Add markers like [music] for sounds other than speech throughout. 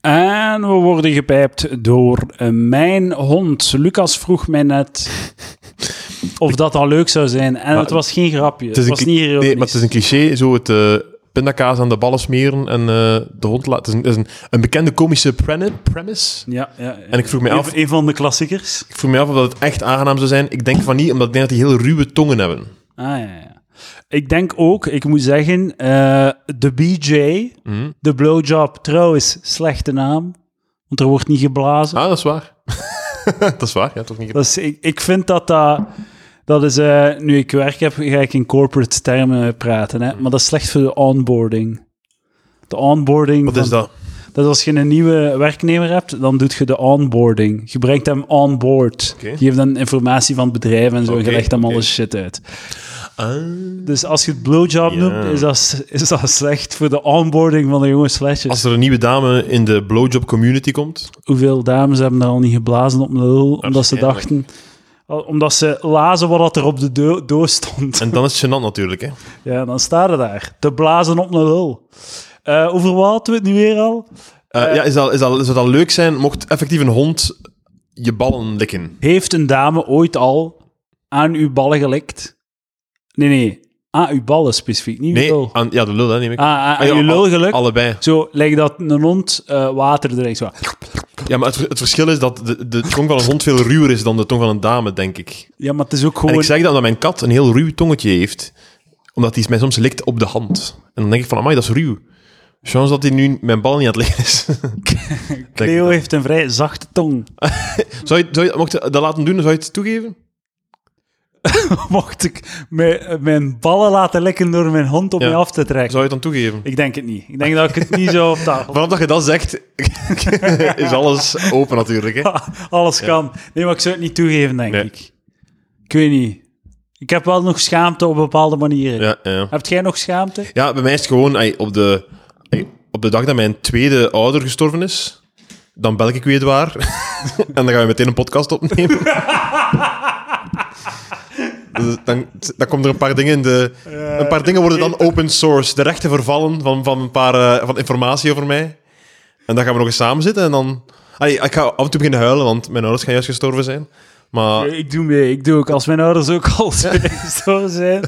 En we worden gepijpt door eh, mijn hond. Lucas vroeg mij [laughs] net of dat al leuk zou zijn. En Maar- het was geen grapje. Het, is een was cli- niet ironisch. Nee, maar het is een cliché, zo het eh, pindakaas aan de ballen smeren en eh, de hond laten... Het is, een, het is een, een bekende komische prene- premise. ja, ja, ja. En ik vroeg me Een- af- Een van de klassiekers. Ik vroeg me af of dat het echt aangenaam zou zijn. Ik denk van niet, omdat ik denk dat die heel ruwe tongen hebben. Ah, ja, ja. Ik denk ook, ik moet zeggen, eh, de BJ, Mhm. de blowjob, trouwens, slechte naam. Want er wordt niet geblazen. Ah, dat is waar. [laughs] dat is waar, ja, toch niet. Dat is, Dus ik, ik vind dat dat... Dat is, eh, nu ik werk heb, ga ik in corporate termen praten. Hè? Maar dat is slecht voor de onboarding. De onboarding... Wat van- is dat? Dat als je een nieuwe werknemer hebt, dan doet je de onboarding. Je brengt hem on board. Oké. Je geeft hem informatie van het bedrijf en zo. en Oké, je legt hem oké. alle shit uit. Ah. Dus als je het blowjob Ja. noemt, is dat, is dat slecht voor de onboarding van de jonge flesjes. Als er een nieuwe dame in de blowjob community komt, Hoeveel dames hebben daar al niet geblazen op de lul, omdat ze Waarschijnlijk. dachten... Omdat ze lazen wat dat er op de do- doos stond. en dan is het gênant natuurlijk. Hè. Eh, Ja, dan staat het daar. Te blazen op een lul. Eh over wat hadden we het nu weer al? Eh, ja, is dat, is dat, zou dat leuk zijn mocht effectief een hond je ballen likken? Heeft een dame ooit al aan uw ballen gelikt? Nee, nee. Aan uw ballen specifiek, niet uw Nee, lul. aan, ja, de lul, hè, neem ik. Ah, aan, Ah, ja, aan uw lul al- gelukt. Allebei. Zo, lijkt dat een hond eh, water drinkt. Zo. Ja, maar het, het verschil is dat de, de tong van een hond veel ruwer is dan de tong van een dame, denk ik. Ja, maar het is ook En gewoon... ik zeg dat omdat mijn kat een heel ruw tongetje heeft, omdat hij mij soms likt op de hand. En dan denk ik van, amai, dat is ruw. Chance dat hij nu mijn bal niet aan het likken [laughs] is. Cleo heeft een vrij zachte tong. [laughs] Zou je, zou je, mocht je dat laten doen, zou je het toegeven? Mocht ik mijn, mijn ballen laten likken door mijn hond om Ja. mij af te trekken? Zou je het dan toegeven? Ik denk het niet. Ik denk dat ik het niet zo op tafel... Vanaf dat je dat zegt, [laughs] is alles open natuurlijk. Hè? [laughs] Alles kan. Nee, maar ik zou het niet toegeven, denk Nee. ik. Ik weet niet. Ik heb wel nog schaamte op bepaalde manieren. Ja, ja. Hebt jij nog schaamte? ja, bij mij is het gewoon, ey, op, de, ey, op de dag dat mijn tweede ouder gestorven is, dan bel ik Weduwaar [laughs] en dan gaan we meteen een podcast opnemen. [laughs] Dus Dan, dan komen er een paar dingen in de... Een paar dingen worden dan open source. De rechten vervallen van, van een paar eh, van informatie over mij. En dan gaan we nog eens samen zitten en dan... Allee, ik ga af en toe beginnen huilen, want mijn ouders gaan juist gestorven zijn. Maar Eh, Ik doe mee, ik doe ook. Als mijn ouders ook al [laughs] zo zijn,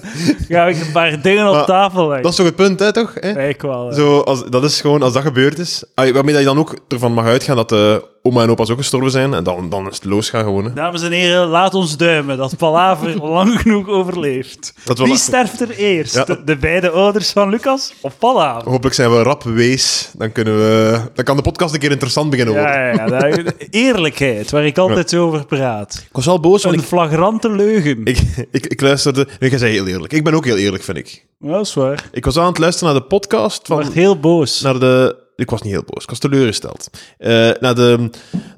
ga ik een paar dingen op Maar tafel leggen. dat is toch het punt, hè, toch? Hè? Kijk wel. hè. Zo, als, dat is gewoon, als dat gebeurd is, ah, waarmee dat je dan ook ervan mag uitgaan dat eh, oma en opa's ook gestorven zijn, en dan, dan is het losgaan gewoon. Hè. Dames en heren, laat ons duimen dat [laughs] Palaver lang genoeg overleeft. Dat wel- Wie sterft er eerst? Ja. Oh, De, de beide ouders van Lucas of Palaver? Hopelijk zijn we rap wees, dan, kunnen we, dan kan de podcast een keer interessant beginnen worden. Ja, ja, ja, daar- eerlijkheid, waar ik altijd zo over praat. Ik was wel boos, want Een ik, flagrante leugen. ik, ik, ik luisterde... Nee, jij zei heel eerlijk. Ik ben ook heel eerlijk, vind ik. Ja, dat is waar. Ik was aan het luisteren naar de podcast Ik werd van... heel boos. Naar de, ik was niet heel boos, ik was teleurgesteld. Eh, naar de,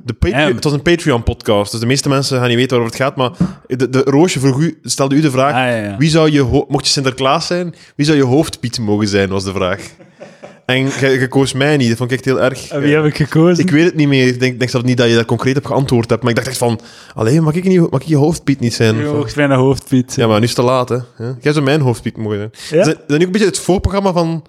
de Patre- Damn. het was een Patreon-podcast, dus de meeste mensen gaan niet weten waarover het gaat, maar de, de Roosje vroeg u, stelde u de vraag, Ah, ja, ja. Wie zou je, ho- mocht je Sinterklaas zijn, wie zou je hoofdpiet mogen zijn, was de vraag. En je, je koos mij niet, dat vond ik echt heel erg. Eh, En wie heb ik gekozen? Nou, Ik weet het niet meer, ik denk, denk zelf niet dat je daar concreet op geantwoord hebt, maar ik dacht echt van, alleen mag ik, niet, mag ik je hoofdpiet niet zijn? Je Of- mocht mijn hoofdpiet. Ja, maar nu is het te laat, hè. Ja? Jij zou mijn hoofdpiet mogen zijn. Ja? Zijn, zijn nu ook een beetje het voorprogramma van,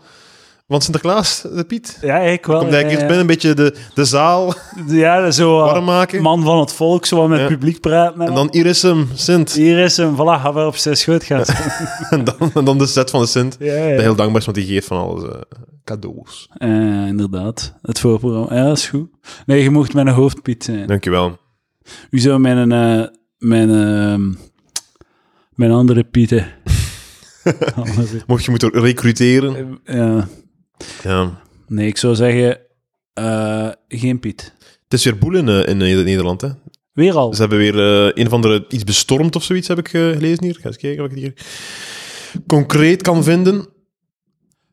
van Sinterklaas, de Piet? Ja, ik wel. Omdat ik ja, eerst ja. ben, een beetje de, de zaal Ja, zo eh, warm maken. man van het volk, zo wat met Ja. het publiek praten. En En dan Iris hem, Sint. [laughs] Hier is een, voilà, ga maar op zijn schoot gaan. En dan, en dan de set van de Sint. ja, Dat ja. heel dankbaar is, want die geeft van alles eh, cadeaus. Eh, inderdaad, het voorprogramma. Ja, dat is goed. Nee, je mocht mijn hoofdpiet zijn. Dankjewel. U zou mijn, eh, mijn, ehm, mijn andere pieten... [laughs] Andere- Mocht je moeten recruteren. Ja. Ja. nee, ik zou zeggen, eh, geen piet. Het is weer boel in, eh, in eh, Nederland, hè? Weer al. Ze hebben weer eh, een of andere iets bestormd of zoiets, heb ik eh, gelezen hier. Ga eens kijken wat ik hier concreet kan vinden.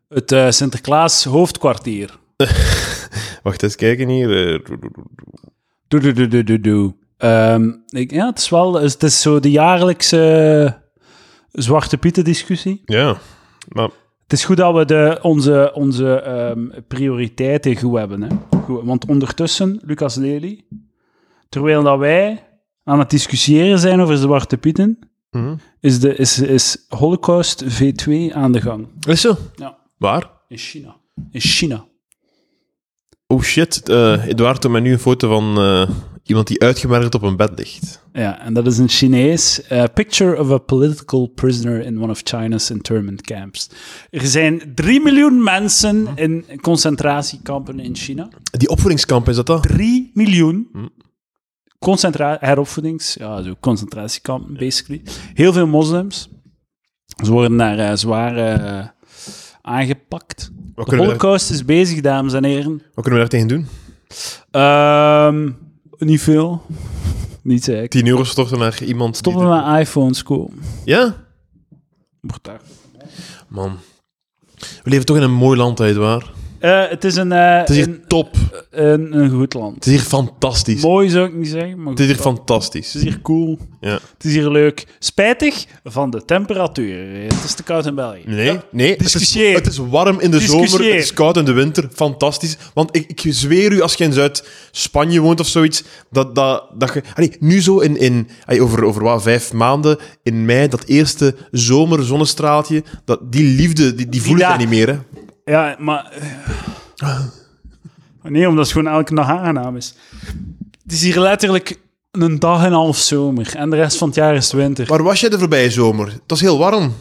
Het eh, Sinterklaas hoofdkwartier. Wacht eens kijken hier. eh. Doe, doe, doe, doe, doe, doe. Ehm, ik, ja, het is wel... Het is zo de jaarlijkse Zwarte Pieten discussie. ja, maar Het is goed dat we de, onze, onze ehm, prioriteiten goed hebben. Hè? Goed, want ondertussen, Lucas Lely, terwijl dat wij aan het discussiëren zijn over Zwarte Pieten, Mhm. is, de, is, is Holocaust V2 aan de gang. is zo. Ja. Waar? In China. In China. Oh shit, eh Eduard toont mij nu een foto van eh, iemand die uitgemergeld op een bed ligt. Ja, en dat is in Chinees. eh, picture of a political prisoner in one of China's internment camps. Er zijn 3 miljoen mensen Hm. in concentratiekampen in China. Die opvoedingskamp, is dat dat? 3 miljoen. Concentra heropvoedings, ja, zo concentratiekampen, basically. Heel veel moslims. Ze worden daar eh, zwaar eh, aangepakt. Wat De kunnen, we daar, holocaust is bezig, dames en heren. wat kunnen we daar tegen doen? Ehm, niet veel. [laughs] Niet zeker. 10 euro storten naar iemand. die- Stoppen met iPhones, cool. Ja? Wordt daar. Man. We leven toch in een mooi land, hè, Eduard. Eh, het is, een, eh, Het is hier een, top. Het een, een goed land. is hier fantastisch. Mooi zou ik niet zeggen, maar Het is hier goed. het fantastisch. is hier cool. Ja. Het is hier leuk. Spijtig van de temperatuur. Het is te koud in België. Nee, nee. Het is, Discussieer. het is warm in de zomer, Discussieer. het is koud in de winter. Fantastisch. Want ik, ik zweer u, als je in Zuid-Spanje woont of zoiets, dat, dat, dat je... Allee, nu zo in, in allee, over, over wat, vijf maanden, in mei, dat eerste zomerzonnestraaltje, dat, die liefde, die, die voel je Ja. niet meer. Hè. Ja, maar... eh, Nee, omdat het gewoon elke dag aangenaam is. Het is hier letterlijk een dag en een half zomer. En de rest van het jaar is het winter. Waar was jij de voorbije zomer? Het was heel warm.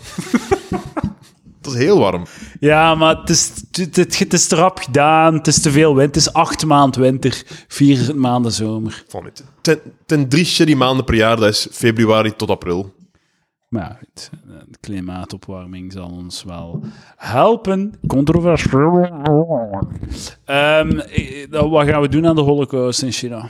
[laughs] het was heel warm. Ja, maar het is, het, het, het is te rap gedaan. Het is te veel wind. Het is acht maanden winter, vier maanden zomer. Van het. Ten, ten drie shitty maanden per jaar, dat is februari tot april. Maar ja, goed, de klimaatopwarming zal ons wel helpen. Controversieel. Ehm, eh, dan wat gaan we doen aan de holocaust in China?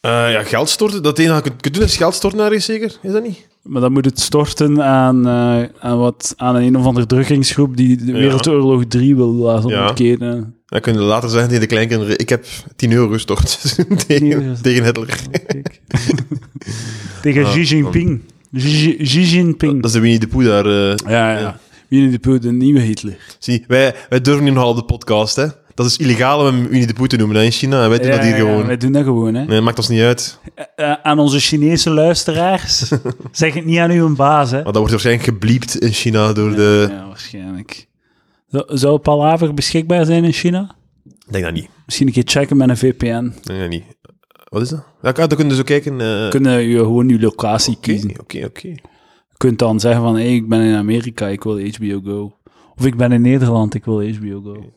Eh, ja, geld storten. Dat het enige dat je kunt- kunt doen is geld storten naar je zeker? Is dat niet? Maar dan moet het storten aan, eh, aan, wat, aan een of andere drukkingsgroep die de Wereldoorlog 3 wil laten Ja. ontketen. Dan kun je later zeggen tegen de kleinkinderen, ik heb 10 euro gestort [laughs] euro. tegen, tegen Hitler. [laughs] Tegen Xi Jinping. Xi, Xi Jinping. Dat is de Winnie de Pooh daar. eh. Ja, ja. Winnie de Pooh, de nieuwe Hitler. Zie, wij, wij durven niet nogal op de podcast, hè. Dat is illegaal om hem Winnie de Pooh te noemen hè, in China. En wij doen dat hier gewoon. wij doen dat gewoon, hè. Nee, maakt ons niet uit. Eh, aan onze Chinese [laughs] luisteraars, zeg het niet aan uw baas, hè. Maar dat wordt waarschijnlijk gebliept in China door de... Ja, waarschijnlijk. Zou, zou Palaver beschikbaar zijn in China? Ik denk dat niet. Misschien een keer checken met een VPN. Ik denk dat niet. Wat is dat? Ja, kan- dan kunnen ze zo kijken. eh, Kunnen je gewoon je locatie kiezen. Oké, oké, oké. Je kunt dan zeggen van, hey, ik ben in Amerika, ik wil HBO Go. Of ik ben in Nederland, ik wil HBO Go.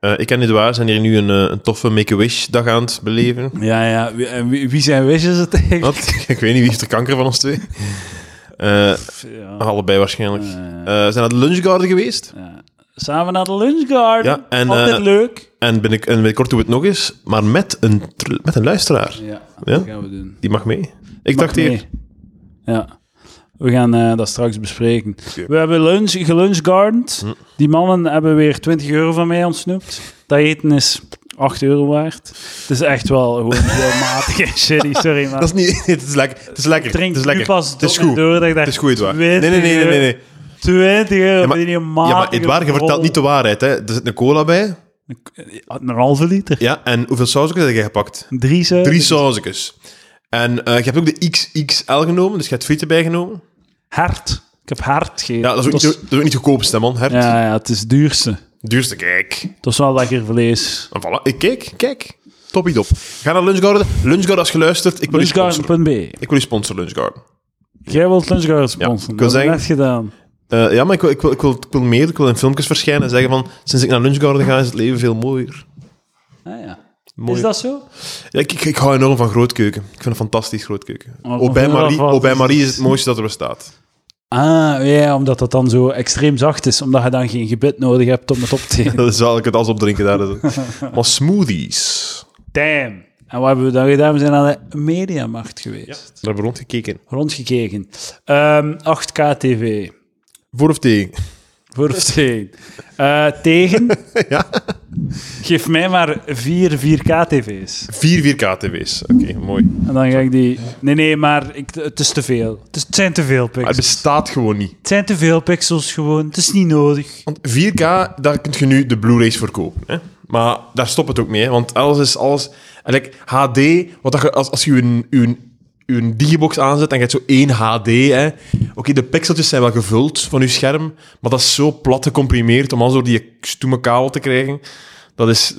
Eh, Ik en Edouard zijn hier nu een, eh, een toffe Make-A-Wish-dag aan het beleven. Ja, ja. Wie, en wie, wie zijn wishes het eigenlijk? [laughs] Wat? ik weet niet, wie heeft er kanker van ons twee? Eh, Ja. allebei waarschijnlijk. Eh, Eh, we zijn naar de lunchgarden geweest. ja. Samen naar de lunchgarden. Ja, en, Altijd eh, leuk. En En, binnen, en binnenkort doen we het nog eens, maar met een, tr- met een luisteraar. Ja, Ja? dat gaan we doen. Die mag mee. Ik dacht Nee. hier... Ja. We gaan eh, dat straks bespreken. Oké. Hm. We hebben lunch, gelunchgardend. Die mannen hebben weer 20 euro van mij ontsnoept. Dat eten is 8 euro waard. Het is echt wel gewoon [laughs] heel matig en shitty. Sorry, maar... [laughs] Dat is niet... Het is lekker. Het is lekker. Ik drink het is lekker. nu pas het is door- goed. door dat ik daar Het is goed, Edouard. Nee, 20 nee, nee, nee, nee. nee. 20 euro Ja, voor maar, die ja, matige maar Edouard, je vertelt rol. niet de waarheid. Hè. Er zit een cola bij. Een halve liter. Ja, en hoeveel sausjes heb jij gepakt? Drie zo. Drie sausjes. En eh, je hebt ook de XXL genomen, dus je hebt friet erbij genomen. Hart. Ik heb hart gegeten. Ja, dat is ook, Het niet, was- dat is ook niet goedkoopste, man. Hert. ja, ja, het is het duurste. Duurste, kijk. Het was wel lekker vlees. En voilà, ik kijk, kijk. Toppie dop. Ga naar Lunchgarden. Lunchgarden, als je luistert, ik wil je sponsoren. Lunchgarden.be. Ik wil je sponsoren, Lunchgarden. Jij wilt Lunchgarden sponsoren. ik wil dat heb ik zeggen- net gedaan. Eh, ja, maar ik wil, ik, wil, ik, wil, ik wil meer. Ik wil in filmpjes verschijnen en zeggen van... Sinds ik naar Lunchgarden ga, is het leven veel mooier. Ah, ja. Mooier. Is dat zo? Ja, ik, ik, ik hou enorm van grootkeuken. Ik vind het fantastisch, grootkeuken. Oh, Au bij dat Marie, valt- Au bij Marie is het mooiste dat er bestaat. Ah, ja, omdat dat dan zo extreem zacht is. Omdat je dan geen gebit nodig hebt om het op [laughs] te eten. Dat is wel, ik het als opdrinken [laughs] daar. is het. Maar smoothies. Damn. En wat hebben we dan gedaan? We zijn naar de mediamarkt geweest. Daar hebben we rondgekeken. Rondgekeken. Ehm 8K TV. Voor of tegen? Voor of tegen? Eh, [laughs] tegen? Geef mij maar vier 4K-tv's. Vier 4K-tv's. Oké, mooi. Maar En dan ga ik die... Nee, nee, maar ik, het is te veel. Het, is- het zijn te veel het pixels. bestaat gewoon niet. Het zijn te veel pixels gewoon. Het is niet nodig. Want 4K, daar kun je nu de Blu-rays voor kopen. Hè? Maar daar stopt het ook mee. Hè? Want alles is alles. Eigenlijk HD, wat dat je, als, als je een, een, een digibox aanzet en je hebt zo één HD. hè. Oké, de pixeltjes zijn wel gevuld van je scherm. Maar dat is zo plat gecomprimeerd om al zo die stoeme kabel te krijgen. Dat is.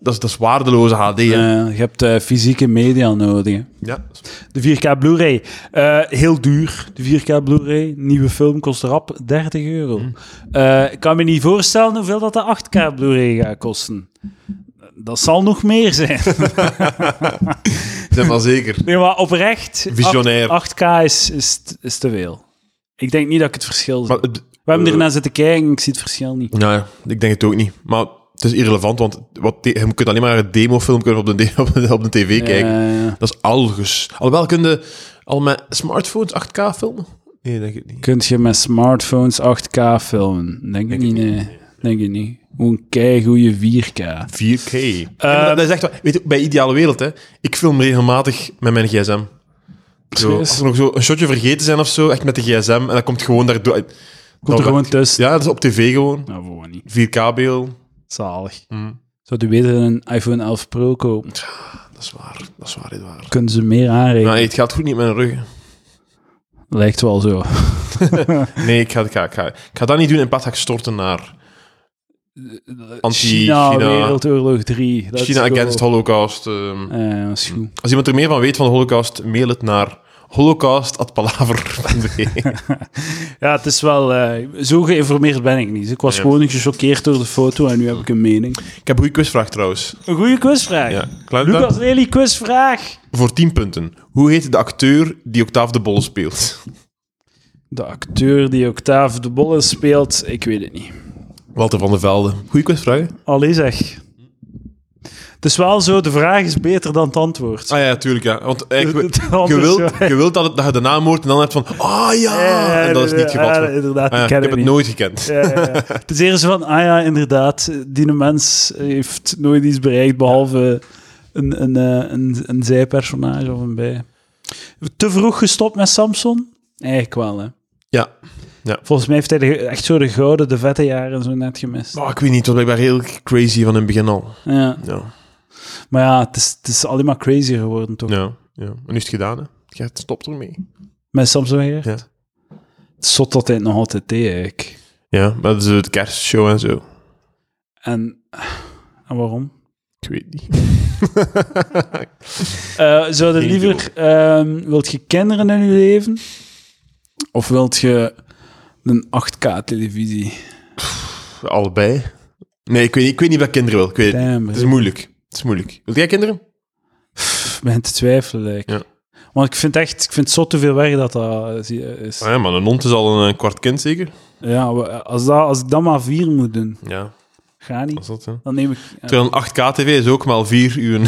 dat, is, dat is waardeloze HD. hè. Eh, je hebt eh, fysieke media nodig. hè. Ja. De 4K Blu-ray. Eh, heel duur, de 4K Blu-ray. Nieuwe film kost rap 30 euro. Eh, ik kan me niet voorstellen hoeveel dat de 8K Blu-ray gaat kosten. Dat zal nog meer zijn. [laughs] Zeg maar zeker. Nee, maar oprecht, Visionair. 8, k is, is, t- is te veel. Ik denk niet dat ik het verschil zie. Maar het- We hebben ernaar zitten kijken, ik zie het verschil niet. Nou ja, ik denk het ook niet. Maar het is irrelevant, want wat, de- je kunt alleen maar een demofilm kunnen op de, [laughs] de- op de, op de tv kijken. Eh, Dat is algus. Alhoewel, kun je al met smartphones 8K filmen? Nee, denk ik niet. kunt je met smartphones 8K filmen? Denk, ik niet, nee. Denk ik niet. Hoe een keigoeie 4K. 4K. dat is echt wat, weet je, bij Ideale Wereld, hè, ik film regelmatig met mijn gsm. Zo, Serieus? als we nog zo een shotje vergeten zijn of zo, echt met de gsm, en dat komt gewoon daardoor. Komt Komt er gewoon tussen. Ja, dat is op tv gewoon. Nou, gewoon niet. 4K-beeld. Zalig. Mm. Zou u beter een iPhone 11 Pro kopen? Dat is waar, dat is waar, dit waar. Kunnen ze meer aanrekenen? Maar het gaat goed niet met mijn rug. hè. Lijkt wel zo. Nee, ik ga, ik, ga, ik, ga, ik ga dat niet doen. In plaats ga ik storten naar China, China, Wereldoorlog 3. Let's China go. Against Holocaust. ehm. Eh, dat is goed. Als iemand er meer van weet van de Holocaust, mail het naar [laughs] holocaust.palaver.be. Ja, het is wel... eh, zo geïnformeerd ben ik niet. Ik was Ja. gewoon gechoqueerd door de foto en nu heb ik een mening. ik heb een goede quizvraag trouwens. Een goede quizvraag. Ja. Klaar Lucas Lely, quizvraag. Voor 10 punten. Hoe heet de acteur die Octave de Bol speelt? De acteur die Octave de Bolle speelt, ik weet het niet. Walter van der Velde. Goeie quizvraag. hè? Allee zeg. Het is wel zo, de vraag is beter dan het antwoord. Ah ja, tuurlijk. Ja. [laughs] Want eigenlijk, Het- het [laughs] je antwoord, wilt, ja. je wilt dat, het- dat je de naam hoort en dan hebt van... Ah ja! En dat is niet het geval. Ja, Ah inderdaad, ja, ik ik ken heb het het niet. nooit gekend. Ja, ja, [laughs] ja. Het is eerder zo van, ah ja, inderdaad, die mens heeft nooit iets bereikt behalve een, een, eh, een, een zijpersonage of een bij. Te vroeg gestopt met Samson? Eigenlijk wel, hè. Ja. Volgens mij heeft hij de- echt zo de gouden, de vette jaren zo net gemist. Maar Ah, ik weet niet, het was blijkbaar heel crazy van in het begin al. Ja. Ja. Maar ja, het is, het is alleen maar crazier geworden, toch? Ja. ja. En nu is het gedaan, hè. Gert, stop ermee. Met Samson Weigert? Ja. Het is zot dat hij het nog altijd deed, eigenlijk. Ja, maar dat is het kerstshow en zo. En, en waarom? Ik weet niet. Eh, zouden Geen liever... ehm, wilt je kinderen in je leven? Of wilt je een 8K-televisie? [laughs] Allebei. Nee, ik weet niet, ik weet niet wat ik kinderen wil. Ik weet het niet. Damn, Het is ik moeilijk. Het is moeilijk. Wil jij kinderen? begin te twijfelen, lijkt. Ja. Want ik vind echt... Ik vind zo te veel werk dat dat is- is. Ah ja, maar een hond is al een, eh, kwart kind, zeker? Ja, we- als, dat, als ik dat maar vier moet doen, Ja, ga dat niet. is dat, hè. Dan neem ik... eh, Ja, Terwijl een 8K-tv is ook maar 4 uur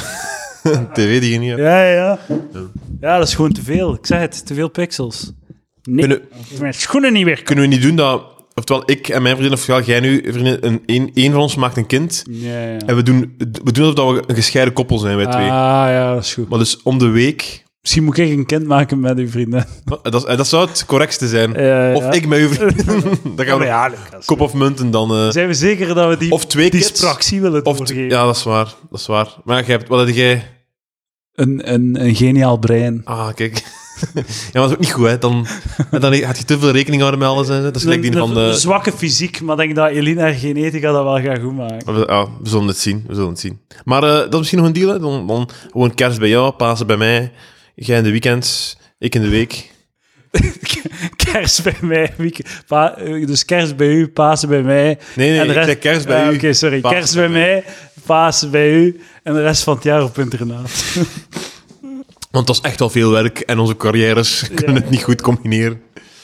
een [laughs] tv die je niet hebt. ja, ja. Ja, dat is gewoon te veel. Ik zeg het, te veel pixels. Nee, Kunnen, mijn schoenen niet werken. kunnen we niet doen dat... Oftewel, ik en mijn vriendin, ofwel jij nu, vriendin, een, een, een van ons maakt een kind. Ja, ja. En we doen, we doen alsof dat we een gescheiden koppel zijn, wij twee. Ah, ja, dat is goed. Maar dus om de week... Misschien moet ik een kind maken met uw vrienden. Dat, is- dat zou het correctste zijn. Eh, Ja, ja. Of ik met uw [laughs] vriendin. Dan gaan we ja, Lucas. kop of munten dan... eh, Zijn we zeker dat we die, Of twee die kids. spractie willen Of doorgeven? twee- ja, dat is waar. Dat is waar. Maar jij hebt, wat had jij? een, een, een geniaal brein. Ah, kijk. [laughs] ja, maar dat is ook niet goed, hè. Dan, dan had je te veel rekening houden met alles. Hè. Dat is gelijk die van eh, Een de... Zwakke fysiek, maar ik denk dat Elina haar genetica dat wel gaat goed [laughs] maken. Ah, we zullen het zien. We zullen het zien. Maar eh, dat is misschien nog een deal, hè. Dan, dan gewoon kerst bij jou, Pasen bij mij. Jij in de weekends, ik in de week. Kerst bij mij, week- pa- eh, dus kerst bij u, Pasen bij mij. Nee, nee, en de ik rest- zei kerst bij Ja, u. Oké, sorry. Pasen Kerst bij mij, Pasen bij u en de rest van het jaar op internaat. Want dat is echt wel veel werk en onze carrières kunnen het niet goed combineren.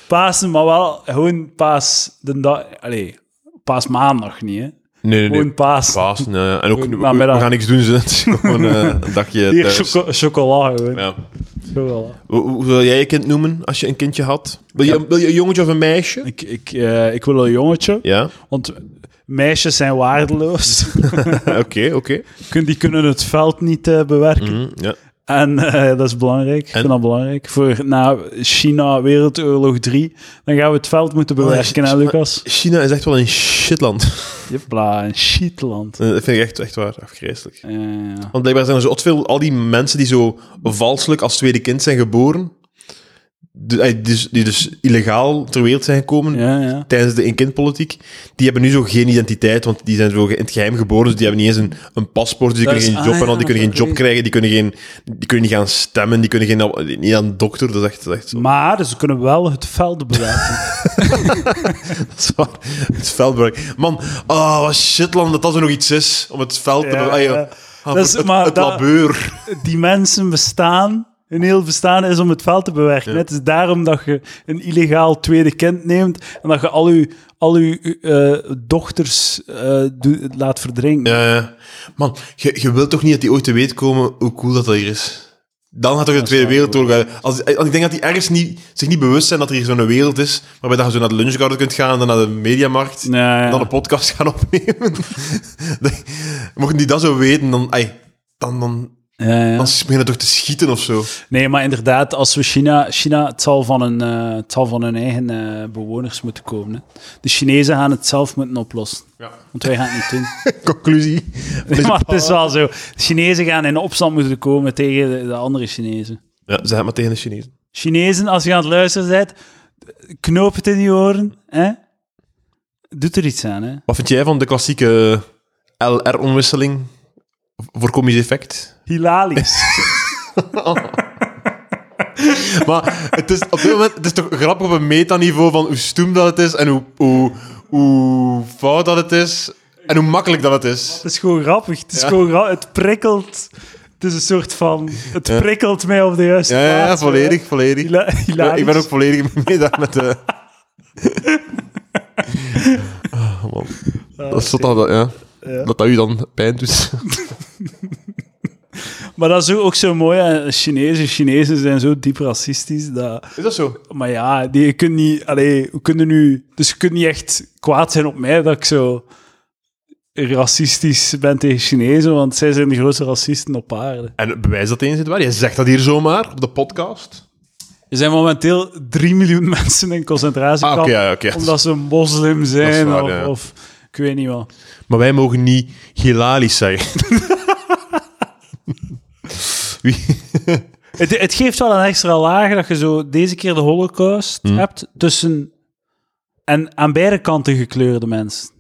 Pasen, maar wel gewoon paas de dag... Allee, paasmaandag niet, hè. Nee, nee, nee. Gewoon paas. Paas, nee. eh, En ook, we, Maar we met dat- gaan niks doen, ze. [laughs] Het is gewoon eh, een dagje Hier, thuis. choco- chocola gewoon. Ja. Zo wel. Hoe, hoe wil jij je kind noemen als je een kindje had? Wil je, wil je een jongetje of een meisje? Ik, ik, eh, ik wil een jongetje, Ja, [laughs] want meisjes zijn waardeloos. [laughs] oké, oké. Kun- Die kunnen het veld niet eh, bewerken. Mhm, ja. En eh, dat is belangrijk. Ik vind En- dat belangrijk. Voor na China Wereldoorlog 3, dan gaan we het veld moeten bewerken, hè, China- Lucas? China is echt wel een shitland. [laughs] Jepla, een shitland. Eh, Dat vind ik echt, echt waar, afgrijselijk. Ja, ja, ja. Want blijkbaar zijn er zo veel, al die mensen die zo valselijk als tweede kind zijn geboren, de- eh, dus, die dus illegaal ter wereld zijn gekomen Ja, ja. tijdens de een-kind-politiek, die hebben nu zo geen identiteit, want die zijn zo ge- in het geheim geboren, dus die hebben niet eens een, een paspoort, dus die Dat kunnen is- geen ah, job en al, ja, die kunnen geen dat is job krijgen, die kunnen, geen, die kunnen niet gaan stemmen, die kunnen geen, niet aan een dokter, dat is echt, dat is echt zo. [laughs] Maar ze kunnen wel het veld bewaken. Dat is waar. Het veldbereik. Man, ah, wat shitland dat dat zo nog iets is, om het veld te... Ja, ah, ja. ja. Ah, Dat is- het maar het dat- labeur. Die mensen bestaan, hun heel bestaan is om het veld te bewerken. Het is daarom dat je een illegaal tweede kind neemt en dat je al je, al uw, eh, dochters eh, doe- laat verdrinken. Ja, ja. Eh, man, je, je wilt toch niet dat die ooit te weten komen hoe cool dat, dat hier is? Dan gaat toch de Tweede Wereldoorlog... uit. Als, als, ik denk dat die ergens niet, zich niet bewust zijn dat er hier zo'n wereld is, waarbij dat je zo naar de lunchgarden kunt gaan, dan naar de mediamarkt, Ja, ja. dan een podcast gaan opnemen. [laughs] Dat- Mochten die dat zo weten, dan... ai, dan, dan, Ja, ja. dan beginnen toch te schieten of zo. Nee, maar inderdaad, als we China... China het, zal van hun, eh, het zal van hun eigen eh, bewoners moeten komen. Hè. De Chinezen gaan het zelf moeten oplossen. Ja. Want wij gaan het niet [laughs] doen. Conclusie. Nee, maar het is wel zo. De Chinezen gaan in opstand moeten komen tegen de, de andere Chinezen. Ja, zeg het maar tegen de Chinezen. Chinezen, als je aan het luisteren bent, knoop het in je oren. Hè? Doet er iets aan, hè? Wat vind jij van de klassieke LR-omwisseling voor komisch effect? [laughs] Hilarisch. Maar het is op dit moment het is toch grappig op een metaniveau van hoe stoem dat het is en hoe, hoe, hoe fout dat het is en hoe makkelijk dat het is. het is gewoon grappig. Het, is Ja. gewoon gra- het prikkelt... Het is een soort van... Het prikkelt mij op de juiste Ja, ja, ja, plaats, hè. volledig, volledig. Hila- Ja, hilarisch. [laughs] ik ben ook volledig mee daar met eh. [laughs] de... Ah, man. Dat is tot dat, dat- ja. Ja. dat dat u dan dus. pijn doet. Maar dat is ook zo mooi aan Chinezen. Chinezen zijn zo diep racistisch. Dat... Is dat zo? Maar ja, die, je kunt niet... Allee, hoe kunnen nu... Dus je kunt niet echt kwaad zijn op mij dat ik zo racistisch ben tegen Chinezen, want zij zijn de grootste racisten op aarde. En bewijs dat eens zit waar. Je zegt dat hier zomaar op de podcast. Er zijn momenteel 3 miljoen [laughs] mensen in concentratiekampen Ah, oké, ja, oké. omdat ze moslim zijn waar, of, ja. of ik weet niet wat. Maar wij mogen niet hilarisch zijn. [laughs] Wie? Het, het geeft wel een extra laag dat je zo deze keer de holocaust hebt tussen... En aan beide kanten gekleurde mensen.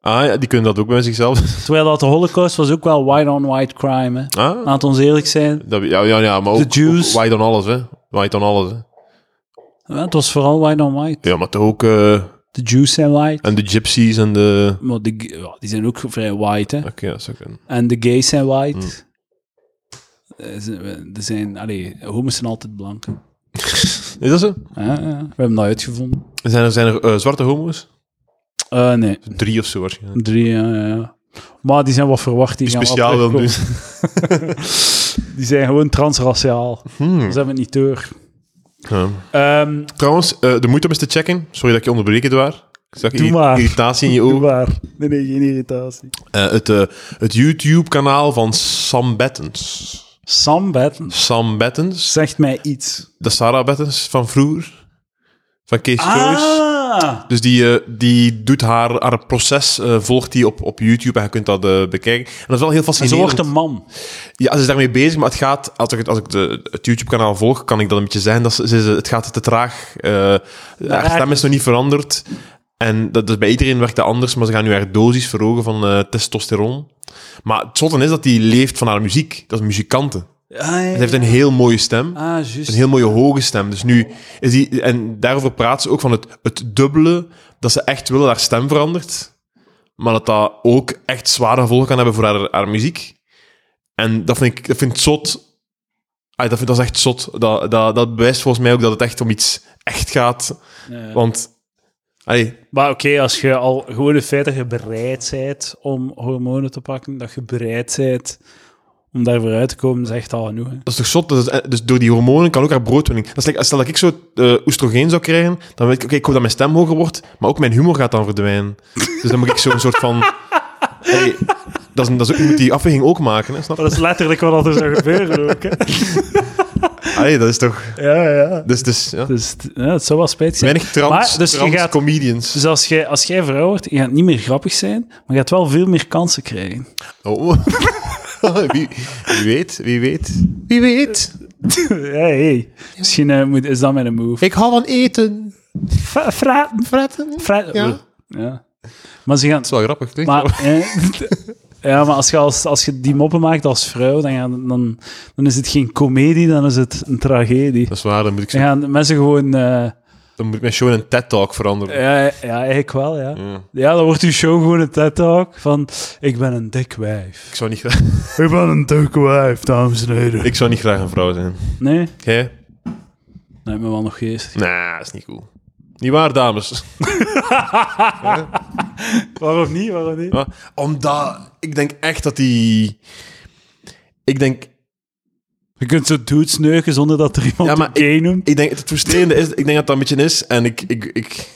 Ah ja, die kunnen dat ook bij zichzelf. [laughs] Terwijl dat de Holocaust was ook wel white-on-white crime. Hè. Ah, Laat ons eerlijk zijn. dat, ja, ja, ja, maar ook, De Jews. ook white on alles, hè. White on alles, hè. Ja, Het was vooral white-on-white. Ja, maar toch ook... eh, De Jews zijn white. en de gypsies en de... Maar de, g- ja, die zijn ook vrij white. Hè. Oké, ja, dat zou kunnen. En de gays zijn white. Eh, ze- Er zijn, allee, homo's zijn altijd blank. hè. Is dat zo? Ja, ja, we hebben dat uitgevonden. Zijn er, zijn er eh, zwarte homo's? Eh, nee, Drie of zo waarschijnlijk. drie. ja, ja, ja. Maar die zijn wat verwacht. Die, Die gaan wat speciaal dan doen. terugkomen. [laughs] Die zijn gewoon transraciaal. Hmm. Ze hebben het niet door. Ja. Ehm, Trouwens, eh, de moeite om eens te checken. Sorry dat ik je onderbreek, Edouard. Ik zag Doe irri- maar. irritatie in [laughs] je doe ogen. maar. Nee, nee, geen irritatie. Eh, het eh, het YouTube-kanaal van Sam Bettens. Sam Batten Sam Bettens. zegt mij iets. de Sarah Bettens van vroeger. Van Kees Joyce. Ah, Dus die, eh, die doet haar, haar proces, eh, volgt die op, op YouTube en je kunt dat eh, bekijken. En dat is wel heel ze fascinerend. wordt een man. Ja, ze is daarmee bezig, maar het gaat, als ik, het- als ik de, het YouTube-kanaal volg, kan ik dat een beetje zijn. Dat ze, ze- ze- het gaat te traag. eh, haar raar. stem is nog niet veranderd. En dat, dat bij iedereen werkt dat anders, maar ze gaan nu haar dosis verhogen van eh, testosteron. Maar het zotte is dat die leeft van haar muziek. Dat is muzikante. Ah, Ze heeft een heel mooie stem. juist. Een heel mooie hoge stem. Dus nu is die, en daarover praat ze ook van het, het dubbele, dat ze echt willen dat haar stem verandert, maar dat dat ook echt zware gevolgen kan hebben voor haar, haar muziek. En dat vind ik, dat vind ik zot. Ah, dat, vind, dat is echt zot. Dat, dat, dat bewijst volgens mij ook dat het echt om iets echt gaat. Ja. Want, allee, Maar oké, als je al gewoon het feit dat je bereid bent om hormonen te pakken, dat je bereid bent om daarvoor uit te komen, is echt al genoeg. Hè? dat is toch zot? Dat is- eh, dus door die hormonen kan ook haar broodwinning. Dat is like- stel dat ik zo eh, oestrogeen zou krijgen, dan weet ik, oké, ik hoop dat mijn stem hoger wordt, maar ook mijn humor gaat dan verdwijnen. Dus dan moet ik zo'n soort van... Hey, dat is, een- dat is, ook- je moet die afweging ook maken, hè, snap je? Dat is letterlijk wat er zou gebeuren ook. Hè? Allee, dat is toch... [laughs] Ja, ja. Dus, dus, ja. Dus het- ja, het zou wel spijtig zijn. Weinig trans, Maar, dus je trans gaat- comedians. Dus als jij, als jij vrouw wordt, je gaat niet meer grappig zijn, maar je gaat wel veel meer kansen krijgen. [laughs] [laughs] Oh. wie, wie weet, wie weet. Wie weet. hey, hey. Misschien eh, moet, is dat met een move. Ik hou van eten. Fra- fra- Fretten. Dat fra- Ja. ja. Maar ze gaan... is wel grappig, klinkt wel. Maar, eh, [laughs] ja, maar als je, als, als je die moppen maakt als vrouw, dan, gaan, dan, dan is het geen komedie, dan is het een tragedie. Dat is waar, dan moet ik, Dan gaan mensen gewoon... eh, dan moet ik mijn show in een TED-talk veranderen. ja, ja, eigenlijk wel, ja. Ja. Ja, dan wordt uw show gewoon een TED-talk van... Ik ben een dik wijf. Ik, zou niet graag, Ik ben een dik wijf, dames en heren. ik zou niet graag een vrouw zijn. Nee? Jij? Nee, maar wel nog geest. Nah, dat is niet cool. Niet waar, dames? [laughs] Waarom niet? Waarom niet? Ja, Omdat ik denk echt dat die... Ik denk, Je kunt zo dudes neuken zonder dat er iemand Ja, maar een gay noemt. ik denk het frustrerende is, ik denk dat dat een beetje is, en ik, ik, ik,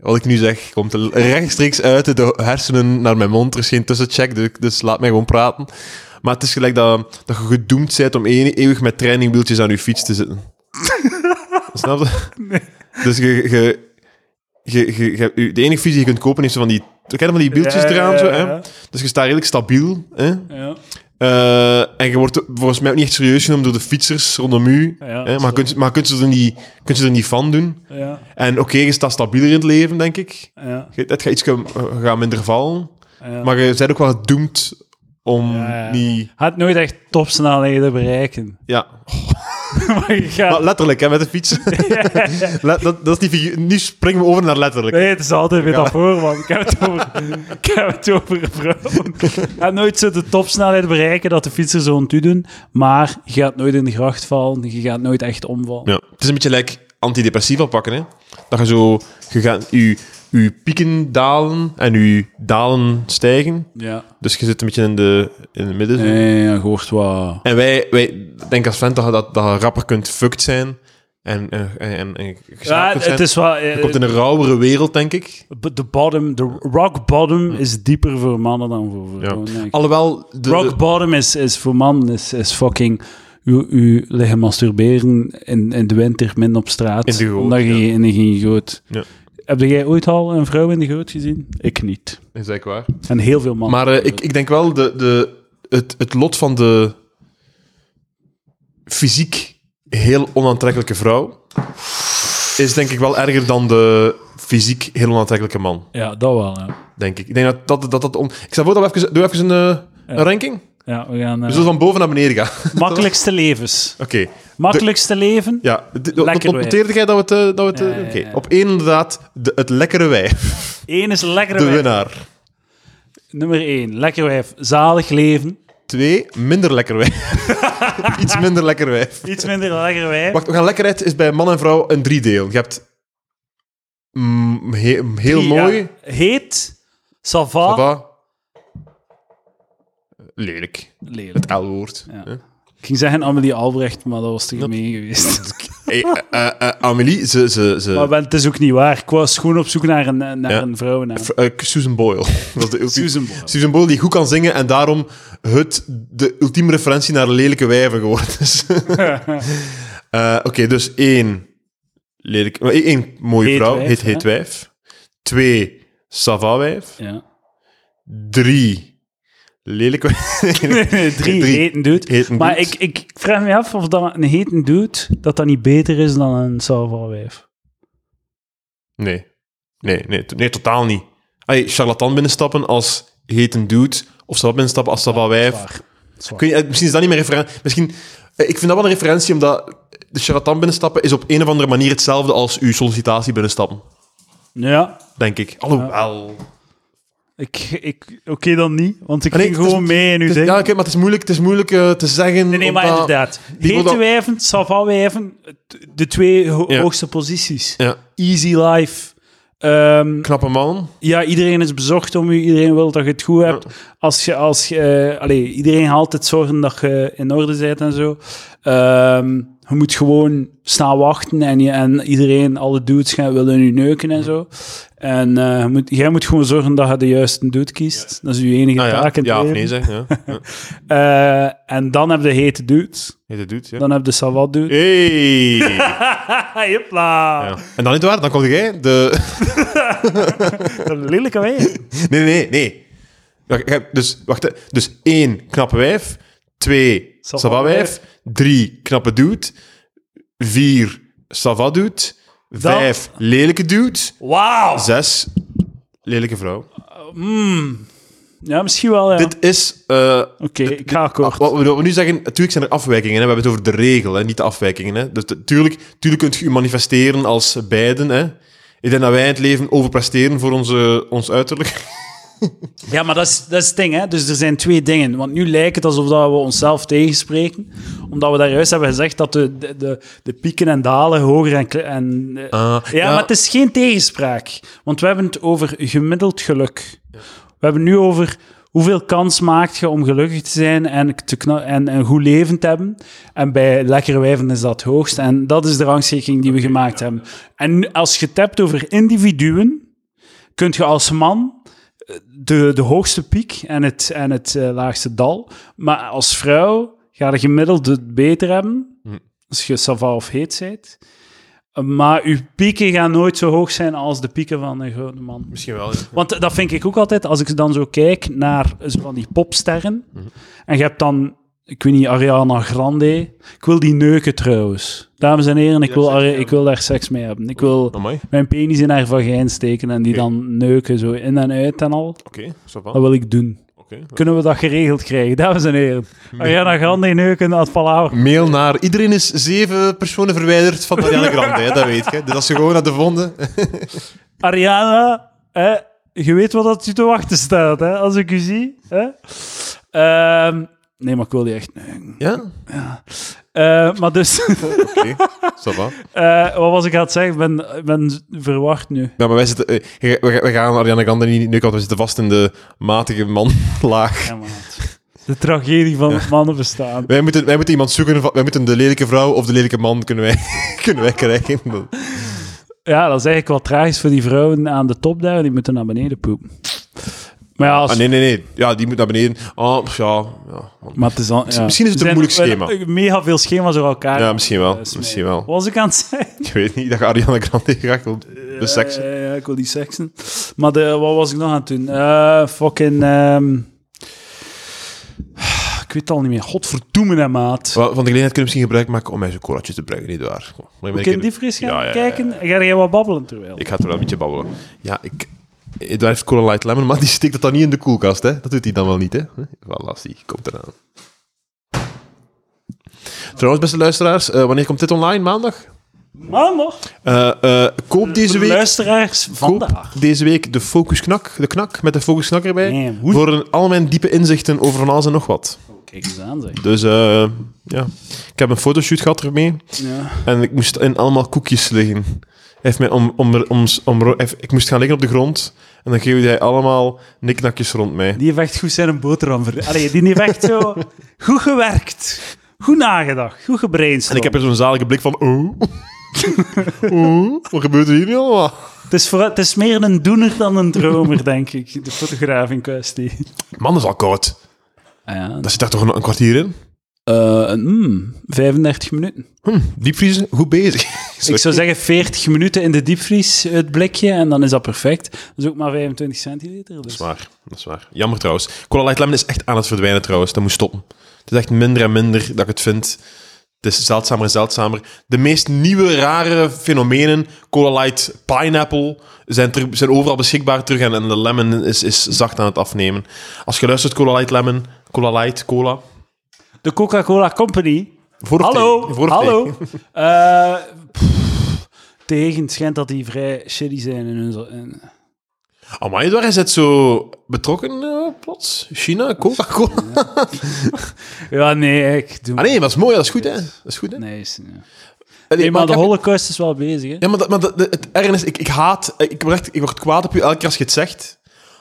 wat ik nu zeg, komt er rechtstreeks uit de hersenen naar mijn mond. Er is geen tussencheck, dus, dus laat mij gewoon praten. Maar het is gelijk dat, dat je gedoemd bent om e- eeuwig met trainingwieltjes aan je fiets [laughs] te zitten. Snap je? Dus je, je, je, je, je hebt- je- de enige fiets die je kunt kopen is zo van die, ken je van die wieltjes Ja, ja, eraan? ja, Zo, ja. hè? Dus je staat redelijk stabiel. Hè? Ja. Eh, en je wordt volgens mij ook niet echt serieus genomen door de fietsers rondom u. Ja, hè, dat is maar je kunt, maar je kunt, ze er niet, je kunt ze er niet van doen. Ja, En oké, je staat stabieler in het leven, denk ik. ja, Je- Het gaat iets gaat minder vallen. ja. Maar je bent ook wel gedoemd om Ja, ja. niet... Had nooit echt topsnelheden [laughs] bereiken. Ja, maar je gaat... maar letterlijk, hè, met de [laughs] fiets. [laughs] Let- dat, dat is die figuur- Nu springen we over naar letterlijk. Nee, het is altijd metafoor, man. Ik heb het over, ik heb het over vrouwen. Je gaat nooit zo de topsnelheid bereiken dat de fietsers zo rond u doen, maar je gaat nooit in de gracht vallen, je gaat nooit echt omvallen. Ja. Het is een beetje like antidepressiva pakken, hè. Dat je zo... Je gaat je, je pieken dalen en je dalen stijgen. Ja. Dus je zit een beetje in de, in de midden. zo. Nee, je hoort wat... En wij, wij denken als fan dat, je dat, dat je rapper kunt fucked zijn. En, en, en, en geslaagd Ja, kunt zijn. het is wel... Je eh, komt in een rauwere wereld, denk ik. De bottom, de rock bottom is dieper voor mannen dan voor Ja. vrouwen. denk ik. Alhoewel, de, Rock bottom is, is voor mannen is, is fucking u, u liggen masturberen in, in de winter min op straat. In de goot, omdat je ja. in de geen goot. Ja. Heb jij ooit al een vrouw in de goot gezien? Ik niet. is eigenlijk waar. En heel veel mannen. Maar eh, ik, ik denk wel, de, de, het, het lot van de fysiek heel onaantrekkelijke vrouw is denk ik wel erger dan de fysiek heel onaantrekkelijke man, Ja, dat wel. Ja, denk denk ik. Ik denk dat dat... dat, dat on... Ik stel voor dat we even... Doe even een, eh, een ranking. ja we gaan... eh, We zullen van boven naar beneden gaan. [laughs] makkelijkste levens. Oké. Makkelijkste leven? Ja, d- Lekker dat noteerde jij dat we het... eh, Dat we Ja, het eh, ja, oké. ja. Op één inderdaad, de, het lekkere wijf. Eén is lekker De wijf. winnaar. Nummer één, lekker wijf. Zalig leven. Twee, minder lekker wijf. [laughs] Iets minder lekker wijf. Iets minder lekker wijf. Wacht, we gaan lekkerheid is bij man en vrouw een driedeel. Je hebt mm, he- heel Drie, mooi, ja. Ah. Heet, ça savat, va. lelijk. lelijk. Het L-woord. Ja. hè. Ik ging zeggen Amelie Albrecht, maar dat was te gemeen geweest. [laughs] Hey, eh, eh, eh, Amélie, ze... ze, ze Maar wel, het is ook niet waar. Ik was gewoon op zoek naar een, eh, naar Ja. een vrouwennaam. v- eh, Susan Boyle. [laughs] Dat is de ultieme- Susan Boyle. Susan Boyle die goed kan zingen en daarom het, de ultieme referentie naar lelijke wijven geworden is. [laughs] Eh, Oké, dus één, lelijk, maar één- één mooie Heet vrouw, wijf, heet, hè? heet wijf. Twee, sava wijf. Ja. Drie, lelijke [laughs] wijf. [laughs] Drie, [laughs] Drie. heten dude. Heten maar dude. ik, ik vraag me af of dat een heten dude, dat dat niet beter is dan een salvalwijf. Nee. Nee, nee, to- nee, totaal niet. Allee, charlatan binnenstappen als heet een dude, of sava binnenstappen als Ah, sava wijf. Zwaar. Ik weet niet, eh, misschien is dat niet meer referentie. Misschien, eh, ik vind dat wel een referentie, omdat de charlatan binnenstappen is op een of andere manier hetzelfde als uw sollicitatie binnenstappen. Ja, Denk ik. Alhoewel. ik, ik, oké dan niet, want ik Ah, nee, ging het is- gewoon mee en u Het is- zegt... Ja, oké, maar het is moeilijk, het is moeilijk eh, te zeggen. Nee, nee, maar omdat- inderdaad. die Hete worden- wijven, salvalwijven, de twee ho- Ja. hoogste posities. Ja, Easy life. Ehm, knappe man. Ja, iedereen is bezocht om u. Iedereen wil dat je het goed hebt. Als je, als je, eh, allee, iedereen haalt het zorgen dat je in orde bent en zo. Ehm, je moet gewoon staan wachten en, je, en iedereen, alle dudes gaan willen u neuken en zo. En eh, je moet, jij moet gewoon zorgen dat je de juiste dude kiest. Dat is je enige Ah, ja, taak in het ja of leven. nee zeg. [laughs] Ja. Ja. Eh, en dan heb je de hete dudes. Heet het doet, ja. Dan heb je de savat dude. Hey! Hopla, Ja. En dan niet waar, dan kom jij de... de lelijke wij. Nee, nee, nee. Wacht, ik heb- Dus, wacht, hè. dus één knappe wijf, Twee, Sava Savawijf. Drie, knappe dude. Vier, Sava dude. Vijf, lelijke dude. Wauw! Zes, lelijke vrouw. Ja, misschien wel, ja. Dit is... eh, Oké, ik ga akkoord. Wat we, wat we nu zeggen, natuurlijk zijn er afwijkingen. Hè? We hebben het over de regel, hè? niet de afwijkingen. Hè? Dus natuurlijk kunt je je manifesteren als beiden. Hè? Ik denk dat wij in het leven overpresteren voor onze, ons uiterlijk. [laughs] Ja, maar dat is, dat is het ding, hè. Dus er zijn twee dingen. Want nu lijkt het alsof dat we onszelf tegenspreken, omdat we daar juist hebben gezegd dat de, de, de, de pieken en dalen hoger en... kle- en eh, Ah, ja, ja. maar het is geen tegenspraak. Want we hebben het over gemiddeld geluk. We hebben nu over hoeveel kans maakt je om gelukkig te zijn en, te kna- en een goed leven te hebben. En bij lekkere wijven is dat het hoogst. En dat is de rangschikking die we gemaakt hebben. En nu, als je het hebt over individuen, kunt je als man de, de hoogste piek en het, en het eh, laagste dal. Maar als vrouw ga je gemiddeld het beter hebben. Hm. Als je sava of heet bent. Maar uw pieken gaan nooit zo hoog zijn als de pieken van een grote man. Misschien wel. Want dat vind ik ook altijd, als ik dan zo kijk naar zo van die popsterren. Hm. En je hebt dan, ik weet niet, Ariana Grande. Ik wil die neuken trouwens. Dames en heren, ik wil, seks Ari- mee ik wil daar seks mee hebben. Ik wil Amai. mijn penis in haar vagijn steken en die Oké. dan neuken zo in en uit en al. Oké, ça va. Dat wil ik doen. Oké. Kunnen we dat geregeld krijgen, dames en [laughs] heren? Ariana Grande neuken uit Palaver. Mail naar... Iedereen is zeven personen verwijderd van Marianne Grande, hè? dat weet je. Dus als je gewoon naar de vonden... Ariana, hè, je weet wat dat je te wachten staat, hè, als ik u zie. Hè? Ehm, nee, maar ik wil die echt neuken. Ja, Eh, maar dus, [laughs] oké. Ça va. eh, wat was ik aan het zeggen? Ik ben, ik ben verward nu. Ja, maar wij zitten... eh, we, we- we gaan Marianne Grande niet nu want we zitten vast in de matige manlaag. Ja, maat. De tragedie van het mannenbestaan. Wij moeten, wij moeten iemand zoeken, van- wij moeten de lelijke vrouw of de lelijke man kunnen wij, [laughs] kunnen wij krijgen. Dat- Ja, dat is eigenlijk wel tragisch voor die vrouwen aan de top daar. Die moeten naar beneden poepen. Maar ja, als Ah, nee, nee, nee. Ja, die moet naar beneden. Ah, pff, ja. Ja, man. Maar het is al- ja. misschien is het een Er moeilijk zijn schema. wel- Mega veel schema's door elkaar. ja misschien wel. Eh, smeden. Misschien wel. Wat was ik aan het zeggen? Ik weet niet dat je Ariana Grande graag wil beseksen. Ja, ja, ja, ik wil die seksen. Maar de, wat was ik nog aan het doen? Eh, fucking... ehm, Ik weet het al niet meer. Godverdoemen, hè, maat. Wel, Van de gelegenheid kunnen we misschien gebruik maken om mijn zo'n colaatje te brengen, nietwaar? Kom, maar ik ben We een kunnen keer- die fris gaan Ja, ja, ja, kijken. ja. En Ga jij wat babbelen terwijl? Ik ga er wel een beetje babbelen. Ja, ik... Edouard heeft Cola Light Lemon, maar die steekt dat dan niet in de koelkast, hè? Dat doet hij dan wel niet, hè? Voilà, zie, komt eraan. Trouwens, beste luisteraars, eh, wanneer komt dit online? Maandag? Maandag. Eh, eh, koop deze Voor de week... luisteraars Koop vandaag. deze week de Focus Knak, de knak met de Focus Knak erbij. Nee, hoe- voor een- al mijn diepe inzichten over van alles en nog wat. Kijk eens aan, zeg. Dus eh, ja, ik heb een fotoshoot gehad ermee Ja. en ik moest in allemaal koekjes liggen. Hij heeft mij om, om, om, om, hij heeft- ik moest gaan liggen op de grond en dan geeft hij allemaal niknakjes rond mij. Die heeft echt goed zijn een boterham ver... Allee, die heeft echt zo... [laughs] goed gewerkt. Goed nagedacht. Goed En gebrainstormd. ik heb er zo'n zalige blik van, [laughs] oh, oh wat gebeurt er hier nu allemaal? Het is, vooral- het is meer een doener dan een dromer, [laughs] denk ik, de fotograaf in kwestie. Ah Man, dat is al koud. Ja. Daar zit daar toch een, een kwartier in? mm, 35 minuten. Hm, diepvriezen, goed bezig. Ik zou zeggen 40 minuten in de diepvries, het blikje, en dan is dat perfect. Dat is ook maar 25 centiliter. Dus. Dat is waar, dat is waar. Jammer trouwens. Cola Light Lemon is echt aan het verdwijnen trouwens. Dat moet stoppen. Het is echt minder en minder dat ik het vind. Het is zeldzamer en zeldzamer. De meest nieuwe, rare fenomenen, Cola Light, Pineapple, zijn, terug- zijn overal beschikbaar terug. En, en de lemon is, is zacht aan het afnemen. Als je luistert, Cola Light Lemon, Cola Light, Cola. De Coca-Cola Company. Voor of Hallo, tegen? Voor of hallo. tegen? [laughs] Eh, pff, tegen, het schijnt dat die vrij shitty zijn in hun... zo- in- Amai, waar is het zo betrokken eh, plots? [laughs] China, Coca-Cola? Ja, nee, ik doe... Ah nee, dat is mooi, dat is goed hè. Dat is goed hè. Nee, is- nee. Allee, Nee, maar ik de heb- holocaust is wel bezig, hè. Ja, maar, dat, maar dat, het erg is, ik, ik haat, eh, ik word, echt- ik word kwaad op u elke keer als je het zegt,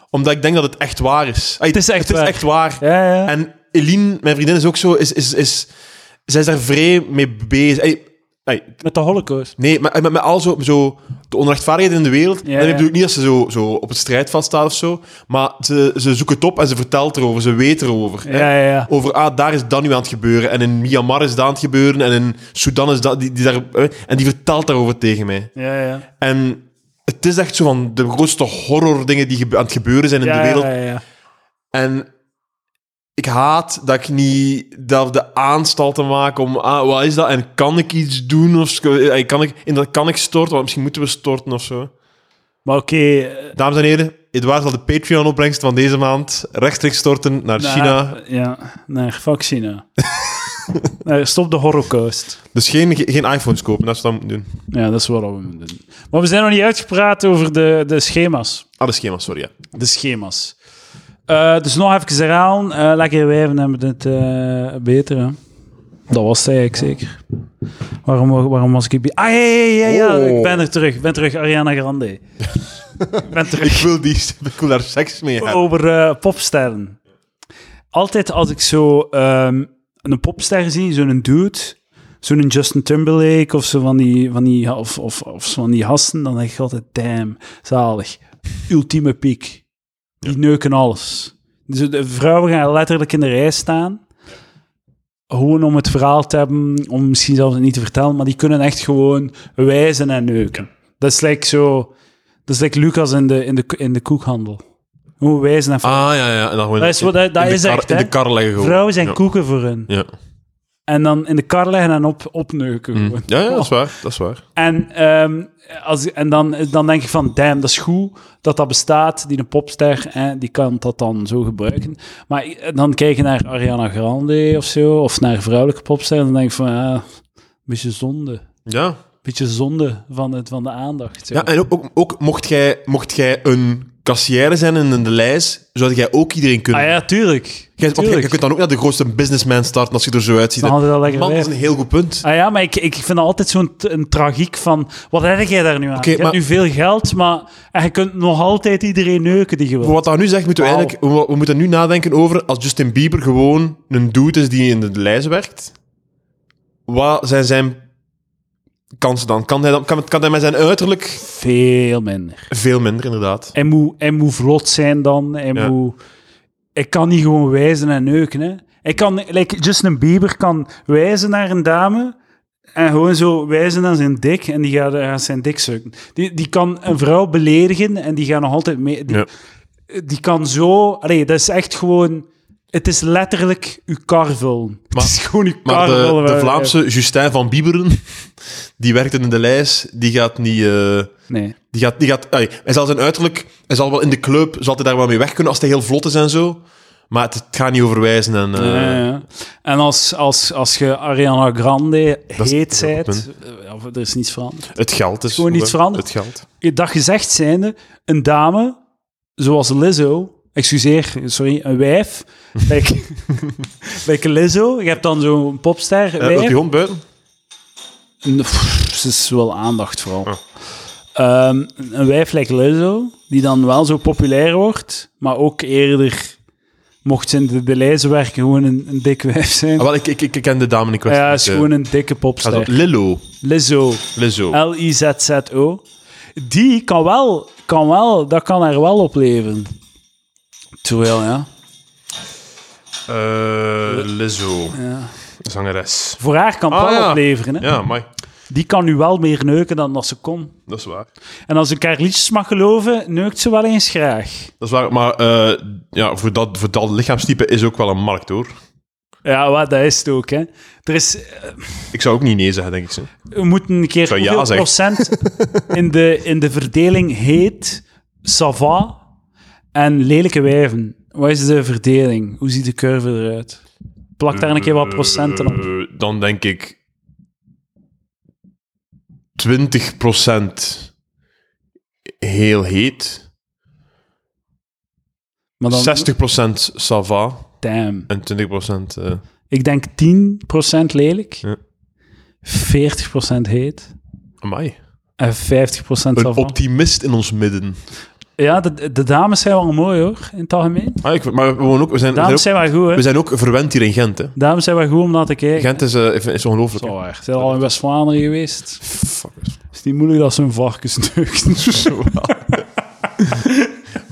omdat ik denk dat het echt waar is. Ay, Het is echt het is waar. echt waar. Ja, ja. En Eline, mijn vriendin, is ook zo, is, is, is, zij is daar vrij mee bezig. Ay, ay, Met de holocaust. nee, maar met, met al zo, zo de onrechtvaardigheden in de wereld. Ja, en ja. ik bedoel ik niet dat ze zo, zo op het strijdveld staat of zo, maar ze, ze zoekt het op en ze vertelt erover, ze weet erover. hè. Ja, ja, ja. Over, ah, daar is dat nu aan het gebeuren. En in Myanmar is dat aan het gebeuren. En in Sudan is dat... Die, die daar, eh, en die vertelt daarover tegen mij. Ja, ja. En het is echt zo van de grootste horror dingen die gebe- aan het gebeuren zijn in de wereld. Ja, ja, ja. En ik haat dat ik niet dat de aanstal te maken om ah, wat is dat en kan ik iets doen of sk- eh, kan ik in dat kan ik storten want misschien moeten we storten of zo Maar oké, eh, dames en heren Edouard zal de Patreon opbrengst van deze maand rechtstreeks storten naar naar- China Nou, Ja, naar fuck [laughs] China. Nee, stop de holocaust. dus geen, geen iPhones kopen dat is wat we moeten doen Ja, dat is wat we moeten doen. Maar we zijn nog niet uitgepraat over de, de schema's. ah de schema sorry ja. De schema's. Eh, dus nog even herhalen. Eh, lekker wijven hebben het eh, beter. Hè? Dat was het eigenlijk zeker. Waarom, waarom was ik... bij- Ah, ja, ja, ja, ja. Oh. Ik ben er terug. Ik ben terug. Ariana Grande. ik ben terug [laughs] ik wil die ik wil daar seks mee hebben over eh, popsterren. Altijd als ik zo ehm, een popster zie, zo'n dude, zo'n Justin Timberlake of zo van die, van die, of, of, of zo van die gasten, dan denk ik altijd, damn, zalig. Ultieme piek. Die neuken alles. Dus de vrouwen gaan letterlijk in de rij staan. Gewoon om het verhaal te hebben, om misschien zelfs het niet te vertellen, maar die kunnen echt gewoon wijzen en neuken. Dat is like zo... Dat is like Lucas in de, in de, in de koekhandel. Hoe wijzen en ah ja ja en dan gewoon Dat is wat- dat- dat in de is kar- echt, in hè. de kar leggen gewoon Vrouwen zijn ja. koeken voor hun. ja. En dan in de kar leggen en op, opneuken. Hm. gewoon. Oh. [laughs] ja ja dat is waar dat is waar En, ehm, als, en dan, dan denk ik van, damn, dat is goed dat dat bestaat. Die een popster, hè, die kan dat dan zo gebruiken. Maar ik- dan kijk je naar Ariana Grande of zo, of naar vrouwelijke popster. En dan denk ik van, ah, een beetje zonde. ja beetje zonde van, het, van de aandacht. zo. Ja, en ook, ook, ook mocht, jij, mocht jij een kassière zijn in een lijst, zou jij ook iedereen kunnen. Ah ja, tuurlijk. Jij, want jij- Tuurlijk. jij kunt dan ook naar de grootste businessman starten als je er zo uitziet. Dan hadden we dat lekker Man, dat is een weer. heel goed punt. Ah ja, maar ik, ik vind altijd zo'n t- een tragiek van... Wat heb jij daar nu aan? Oké, je maar- hebt nu veel geld, maar en je kunt nog altijd iedereen neuken die je wil. Voor wat dat nu zegt, moeten we Wauw. eigenlijk... We, we moeten nu nadenken over als Justin Bieber gewoon een dude is die in de lijst werkt. Wat zijn zijn kansen dan? Kan hij, dan, kan, kan hij met zijn uiterlijk Veel minder. veel minder, inderdaad. Hij moet, hij moet vlot zijn dan. Hij, Ja. moet, hij kan niet gewoon wijzen en neuken. Hè. Hij kan, like Justin Bieber kan wijzen naar een dame... En gewoon zo wijzen naar zijn dik en die gaat, gaat zijn dik sukken. Die, die kan een vrouw beledigen en die gaat nog altijd mee. Die, Ja. die kan zo... Allee, dat is echt gewoon... Het is letterlijk uw kar vullen. Maar- het is gewoon uw kar Maar de, vullen. de Vlaamse Justin van Bieberen, die werkt in de lijst, die gaat niet... eh, Nee. Die gaat, die gaat, ai, hij zal zijn uiterlijk, hij zal wel in de club, zal hij daar wel mee weg kunnen als hij heel vlot is en zo. Maar het, het gaat niet over wijzen en... eh, Ja, ja. En als, als, als je Ariana Grande is- heet dat is ook zijt, eh, of er is niets veranderd. Het geld is... Gewoon niets hè, veranderd. Het geld. Dat gezegd zijnde, een dame zoals Lizzo, excuseer, sorry, een [laughs] wijf, like, like Lizzo, je hebt dan zo'n popster, Eh, loopt wijf. die hond buiten? Nee, pff, Ze is wel aandacht vooral. Oh. Ehm, een wijf like Lizzo, die dan wel zo populair wordt, maar ook eerder, mocht ze in de, de lijzen werken, gewoon een, een dik wijf zijn. Ah, wel, ik, ik, ik ken de dame in kwestie. ja, niet, is eh. gewoon een dikke Ah, popster. zo, Lillo. Lizzo, Lizzo. L-I-Z-Z-O. Die kan wel, kan wel, dat kan haar wel opleveren. Terwijl, ja. Eh, Lizzo. Ja. Zangeres. Voor haar kan het Ah, wel ja. opleveren. Hè. Ja, mooi. Die kan nu wel meer neuken dan dat ze kon. Dat is waar. En als ik haar liedjes mag geloven, neukt ze wel eens graag. Dat is waar, maar eh, ja, voor, dat, voor dat lichaamstype is ook wel een markt, hoor. Ja, wat, dat is het ook, hè. Er is, Ik zou ook niet nee zeggen, denk ik. Zo. we moeten een keer Zou ja hoeveel zeggen. procent in de, in de verdeling heet, sava en lelijke wijven. Wat is de verdeling? Hoe ziet de curve eruit? Plak daar een keer wat procenten op. Eh, Dan denk ik 20% heel heet, Maar dan, 60% sava damn. en 20% eh, Ik denk 10% lelijk, Ja. 40% heet amai. en 50% Een sava. optimist in ons midden. Ja, de, de dames zijn wel mooi, hoor, in het algemeen. Ah, ik, maar we, wonen ook, we, zijn, we, zijn ook, Dames zijn wel goed, we hè. zijn ook verwend hier in Gent. Hè. Dames zijn wel goed om naar te kijken. Gent is, eh, is ongelooflijk. Zo hè. waar. Zijn al in West-Vlaanderen geweest? Fuck. is niet moeilijk dat ze hun varkens neuken. het [laughs] Zo wel.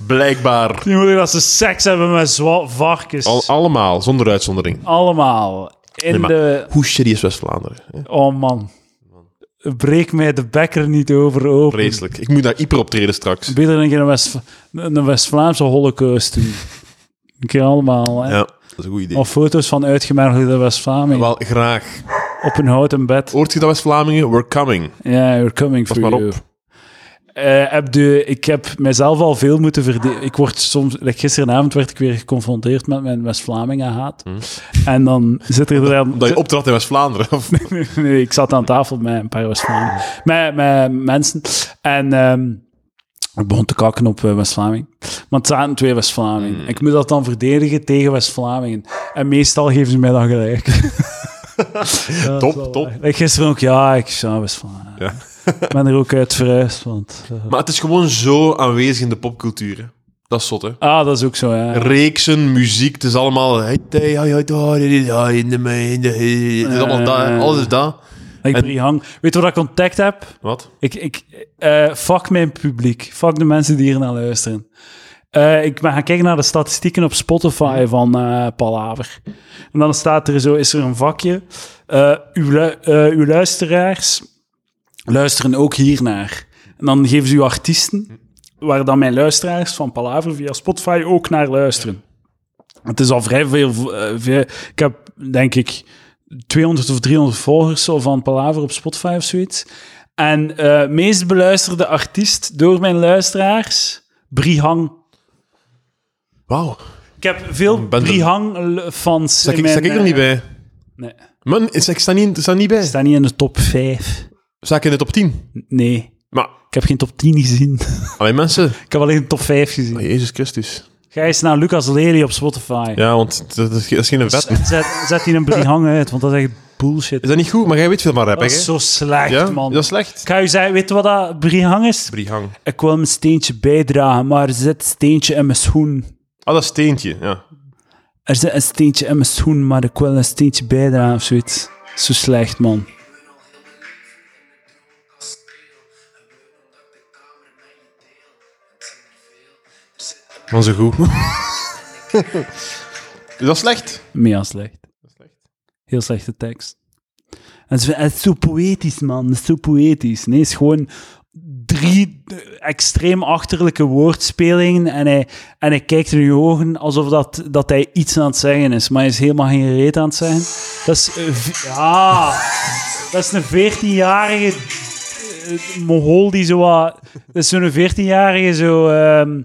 Blijkbaar. is niet moeilijk dat ze seks hebben met zwa- varkens. Al, allemaal, zonder uitzondering. Allemaal. In Nee, maar- de... Hoe shitty is West-Vlaanderen? hè? Oh man. Breek mij de bekker niet over open. Vreselijk. Ik moet naar Ypres optreden straks. Beter dan een keer een West- een West-Vlaamse holocaust doen. Een keer allemaal. Hè? Ja. Dat is een goed idee. Of foto's van uitgemergelde West-Vlamingen Wel, graag. op een houten bed. Hoort je dat West-Vlamingen? We're coming. Ja, we're coming Pas for maar you. op. Eh, heb de, ik heb mezelf al veel moeten verdedigen. Ik word soms, like gisteravond werd ik weer geconfronteerd met mijn West-Vlamingen haat. Hmm. En dan zit er dan. Omdat je optrad in West-Vlaanderen. [laughs] Of... [laughs] Nee, ik zat aan tafel met een paar West-Vlamingen. Met, met mensen. En ehm, ik begon te kakken op eh, West-Vlamingen. Want het zaten twee Hmm. West-Vlamingen. Ik moet dat dan verdedigen tegen West-Vlamingen. En meestal geven ze mij dan [laughs] gelijk. Ja, dat is wel top. waar. Ik Gisteren ook, ja, ik ja, West-Vlamingen. Ja. Ik ben er ook uit verhuisd, want... eh. [laughs] Maar het is gewoon zo aanwezig in de popcultuur. hè. Dat is zot, hè? Ah, dat is ook zo, ja. Reeksen, muziek, het is allemaal... Het is allemaal dat, Eh. hè. alles eh, is dat. Ik En- Brie hang. Weet je wat ik contact heb? Wat? Ik, ik, eh, fuck mijn publiek. Fuck de mensen die hier naar luisteren. Eh, ik ben gaan kijken naar de statistieken op Spotify van eh, Palaver. En dan staat er zo, is er een vakje. eh, uw, lu- eh, uw luisteraars luisteren ook hiernaar. En dan geven ze uw artiesten, waar dan mijn luisteraars van Palaver via Spotify ook naar luisteren. Het is al vrij veel. eh, veel- ik heb denk ik 200 of 300 volgers zo van Palaver op Spotify of zoiets. En eh, meest beluisterde artiest door mijn luisteraars, Brihang. Wauw. Ik heb veel Ben de- Brihang-fans. Sta ik, sta ik er niet bij? Nee, Man, ik sta niet, ik sta niet bij. eh, ik sta niet in de top 5. Sta ik in de top 10? Nee, Maar, ik heb geen top 10 gezien. [laughs] mijn mensen... ik heb alleen de top 5 gezien. Jezus Christus. Ga eens naar Lucas Lely op Spotify. Ja, want dat is, dat is geen vet. Z- Zet, zet die een Brihang uit, want dat is echt bullshit. Is dat niet goed? Maar jij weet veel van rap, hè? Dat is zo slecht, ja? man. Dat is slecht. Ik ga je zeggen, weet je wat dat Brihang is? Brihang. Ik wil mijn steentje bijdragen, maar er zit een steentje in mijn schoen. Ah, dat is steentje, ja. Er zit een steentje in mijn schoen, maar ik wil een steentje bijdragen of zoiets. Zo slecht, man. Maar zo goed. [laughs] is dat slecht? Mega slecht. Dat is slecht. Heel slechte tekst. En ze- het is zo poëtisch, man. Het is zo poëtisch. Nee, het is gewoon drie eh, extreem achterlijke woordspelingen en hij, en hij kijkt in je ogen alsof dat, dat hij iets aan het zeggen is, maar hij is helemaal geen reet aan het zeggen. Dat is... eh, v- ja... Dat is een 14-jarige eh, Mongool die zo wat... Dat is zo'n 14-jarige zo... ehm,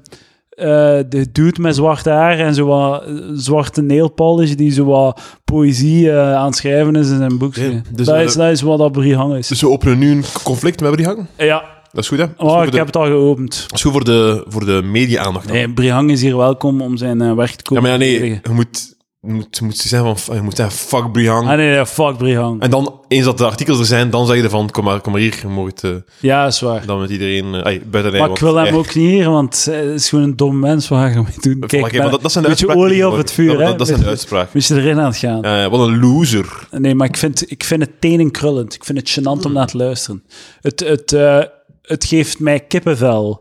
eh, de dude met zwart haar en zo wat eh, zwarte nail polish die zo wat poëzie eh, aan het schrijven is in zijn boekje. Ja, dus dat, we- is, dat is wat dat Brihang is. Dus we openen nu een conflict met Brihang. ja, Dat is goed, hè? oh, ik dat is goed voor de- heb het al geopend. dat is goed voor de, voor de media-aandacht. dan. Nee, Brihang is hier welkom om zijn eh, werk te Ja, komen maar ja, nee, verdedigen. je moet, je moet, je moet zeggen van, je moet zeggen, fuck Brihang. Ah nee, nee, fuck [laughs] Brihang. En dan, eens dat de artikels er zijn, dan zeg je van, kom maar, kom maar hier, je mag het, eh, Ja, is waar. dan met iedereen... eh, ai, buiten de Maar lijn, ik want- wil hem eh, ook niet hier, want eh, het is gewoon een dom mens. Wat ga je ermee doen? Kijk, voilà, ik maar ben dat, dat zijn de een beetje uitspraken die olie op worden- het vuur, dat, hè? dat, dat zijn de uitspraken. Moet je erin aan het gaan. Eh, wat een loser. Nee, maar ik vind, ik vind het tenenkrullend. Ik vind het gênant om naar te luisteren. Het, het, eh, het geeft mij kippenvel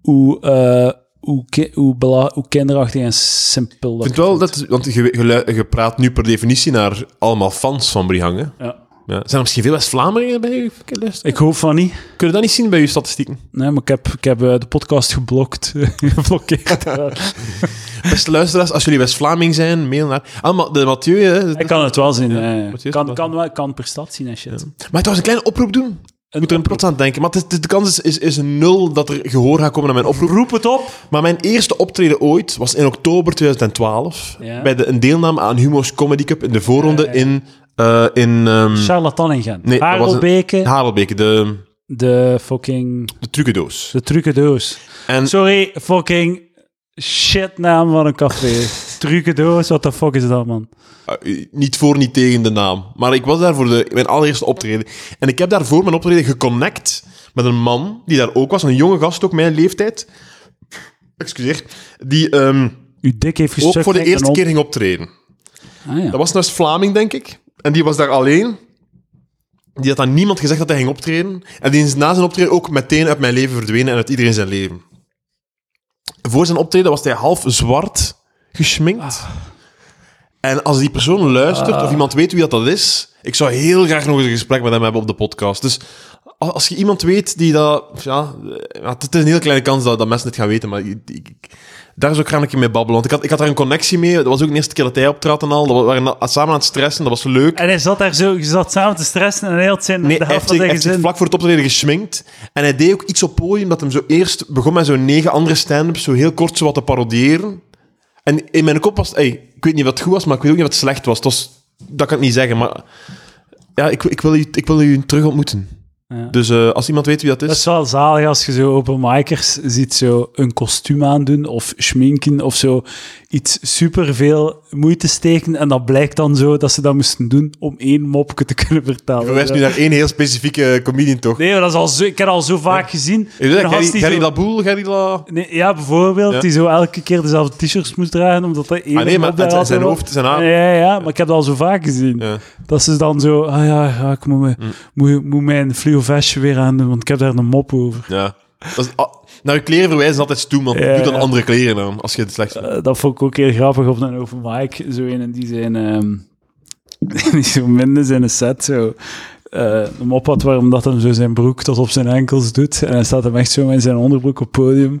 hoe, eh, hoe, ki- hoe, bela- hoe kinderachtig en simpel Ik dat vind wel dat... Want je, je, lu- je praat nu per definitie naar allemaal fans van Brihang, hè? Ja. Ja. Zijn er misschien veel West-Vlamingen bij je luisteren? Ik hoop van niet. Kun je dat niet zien bij je statistieken? Nee, maar ik heb, ik heb eh, de podcast geblokt. [laughs] geblokkeerd. Ja. Beste luisteraars, als jullie West-Vlaming zijn, mail naar... Ah, maar de Mathieu, hè? Ik kan het wel zien. eh. Mathieu is kan, wel- kan, wel, kan per stad zien en shit. Mag ik trouwens een kleine oproep doen? Ik moet er een trots aan denken. Maar het is- de kans is, is, is nul dat er gehoor gaat komen naar mijn oproep. Roep het op. Maar mijn eerste optreden ooit was in oktober 2012. Ja. Bij de, een deelname aan Humo's Comedy Cup in de voorronde Ja, ja, ja. in... eh, in ehm, Charlatan in Gent. Nee, dat was een- Harold Beke, Harelbeke, de, de fucking... de trucendoos. De trucendoos. En Sorry, fucking shitnaam van een [laughs] café. Trucendoos, wat de fuck is dat, man? eh, niet voor, niet tegen de naam. Maar ik was daar voor de, mijn allereerste optreden. En ik heb daar voor mijn optreden geconnect met een man die daar ook was. Een jonge gast, ook mijn leeftijd. Excuseer. Die... ehm, Uw dik heeft gestukt. ook voor de lijkt eerste een keer ging optreden. hond. Ah, ja. Dat was een Vlaming, denk ik. En die was daar alleen. Die had aan niemand gezegd dat hij ging optreden. En die is na zijn optreden ook meteen uit mijn leven verdwenen en uit iedereen zijn leven. Voor zijn optreden was hij half zwart gesminkt. En als die persoon luistert of iemand weet wie dat, dat is, ik zou heel graag nog eens een gesprek met hem hebben op de podcast. Dus a- als je iemand weet die dat... Ja, eh, ja, het is een heel kleine kans dat, dat mensen het gaan weten, maar ik- ik- ik- daar zou ik graag een keer mee babbelen. Want ik had, ik had daar een connectie mee. Dat was ook de eerste keer dat hij optrad en al. Dat we waren na- samen aan het stressen, dat was leuk. En hij zat daar zo, je zat samen te stressen en heel het zin. Nee, de hij helft heeft van zich, hij zijn heeft zich gezin. vlak voor het optreden gesminkt. En hij deed ook iets op podium dat hem zo eerst begon met zo'n negen andere stand-ups, zo heel kort zo wat te parodiëren. En in mijn kop was, hey, ik weet niet wat goed was, maar ik weet ook niet wat slecht was. Het was- dat kan ik niet zeggen, maar ja, ik, ik, wil, u, ik wil u terug ontmoeten. Ja. Dus eh, als iemand weet wie dat is, Dat is wel zalig als je zo openmikers ziet zo een kostuum aandoen of schminken of zo iets superveel moeite steken en dat blijkt dan zo dat ze dat moesten doen om één mopje te kunnen vertellen. verwijs nu naar één heel specifieke eh, comedian toch? Nee, maar dat is al zo, ik heb dat al zo vaak gezien. Ik Een weet dat, gast Gerry die Gerry zo- Laboul, Gerry La... Nee, ja, bijvoorbeeld, Ja. die zo elke keer dezelfde t-shirts moest dragen, omdat dat één Ah nee, maar mop daar het- zijn, altijd was. hoofd, zijn haar... Ja, ja, ja, maar ik heb dat al zo vaak gezien. Ja. Mm. Dat ze dan zo, ah ja, ja, ik moet, me, moet, moet mijn fluo vestje weer aandoen, want ik heb daar een mop over. Ja. Dat is- ah, naar je kleren verwijzen is altijd stoem, want Ja, doe dan ja. andere kleren aan, als je het slecht vindt. Eh, dat vond ik ook heel grappig op een open mic. Zo een en die zijn... ehm, [laughs] die zo minder zijn een set zo... eh een mop had waarom dat hem zo zijn broek tot op zijn enkels doet. En hij staat hem echt zo in zijn onderbroek op het podium.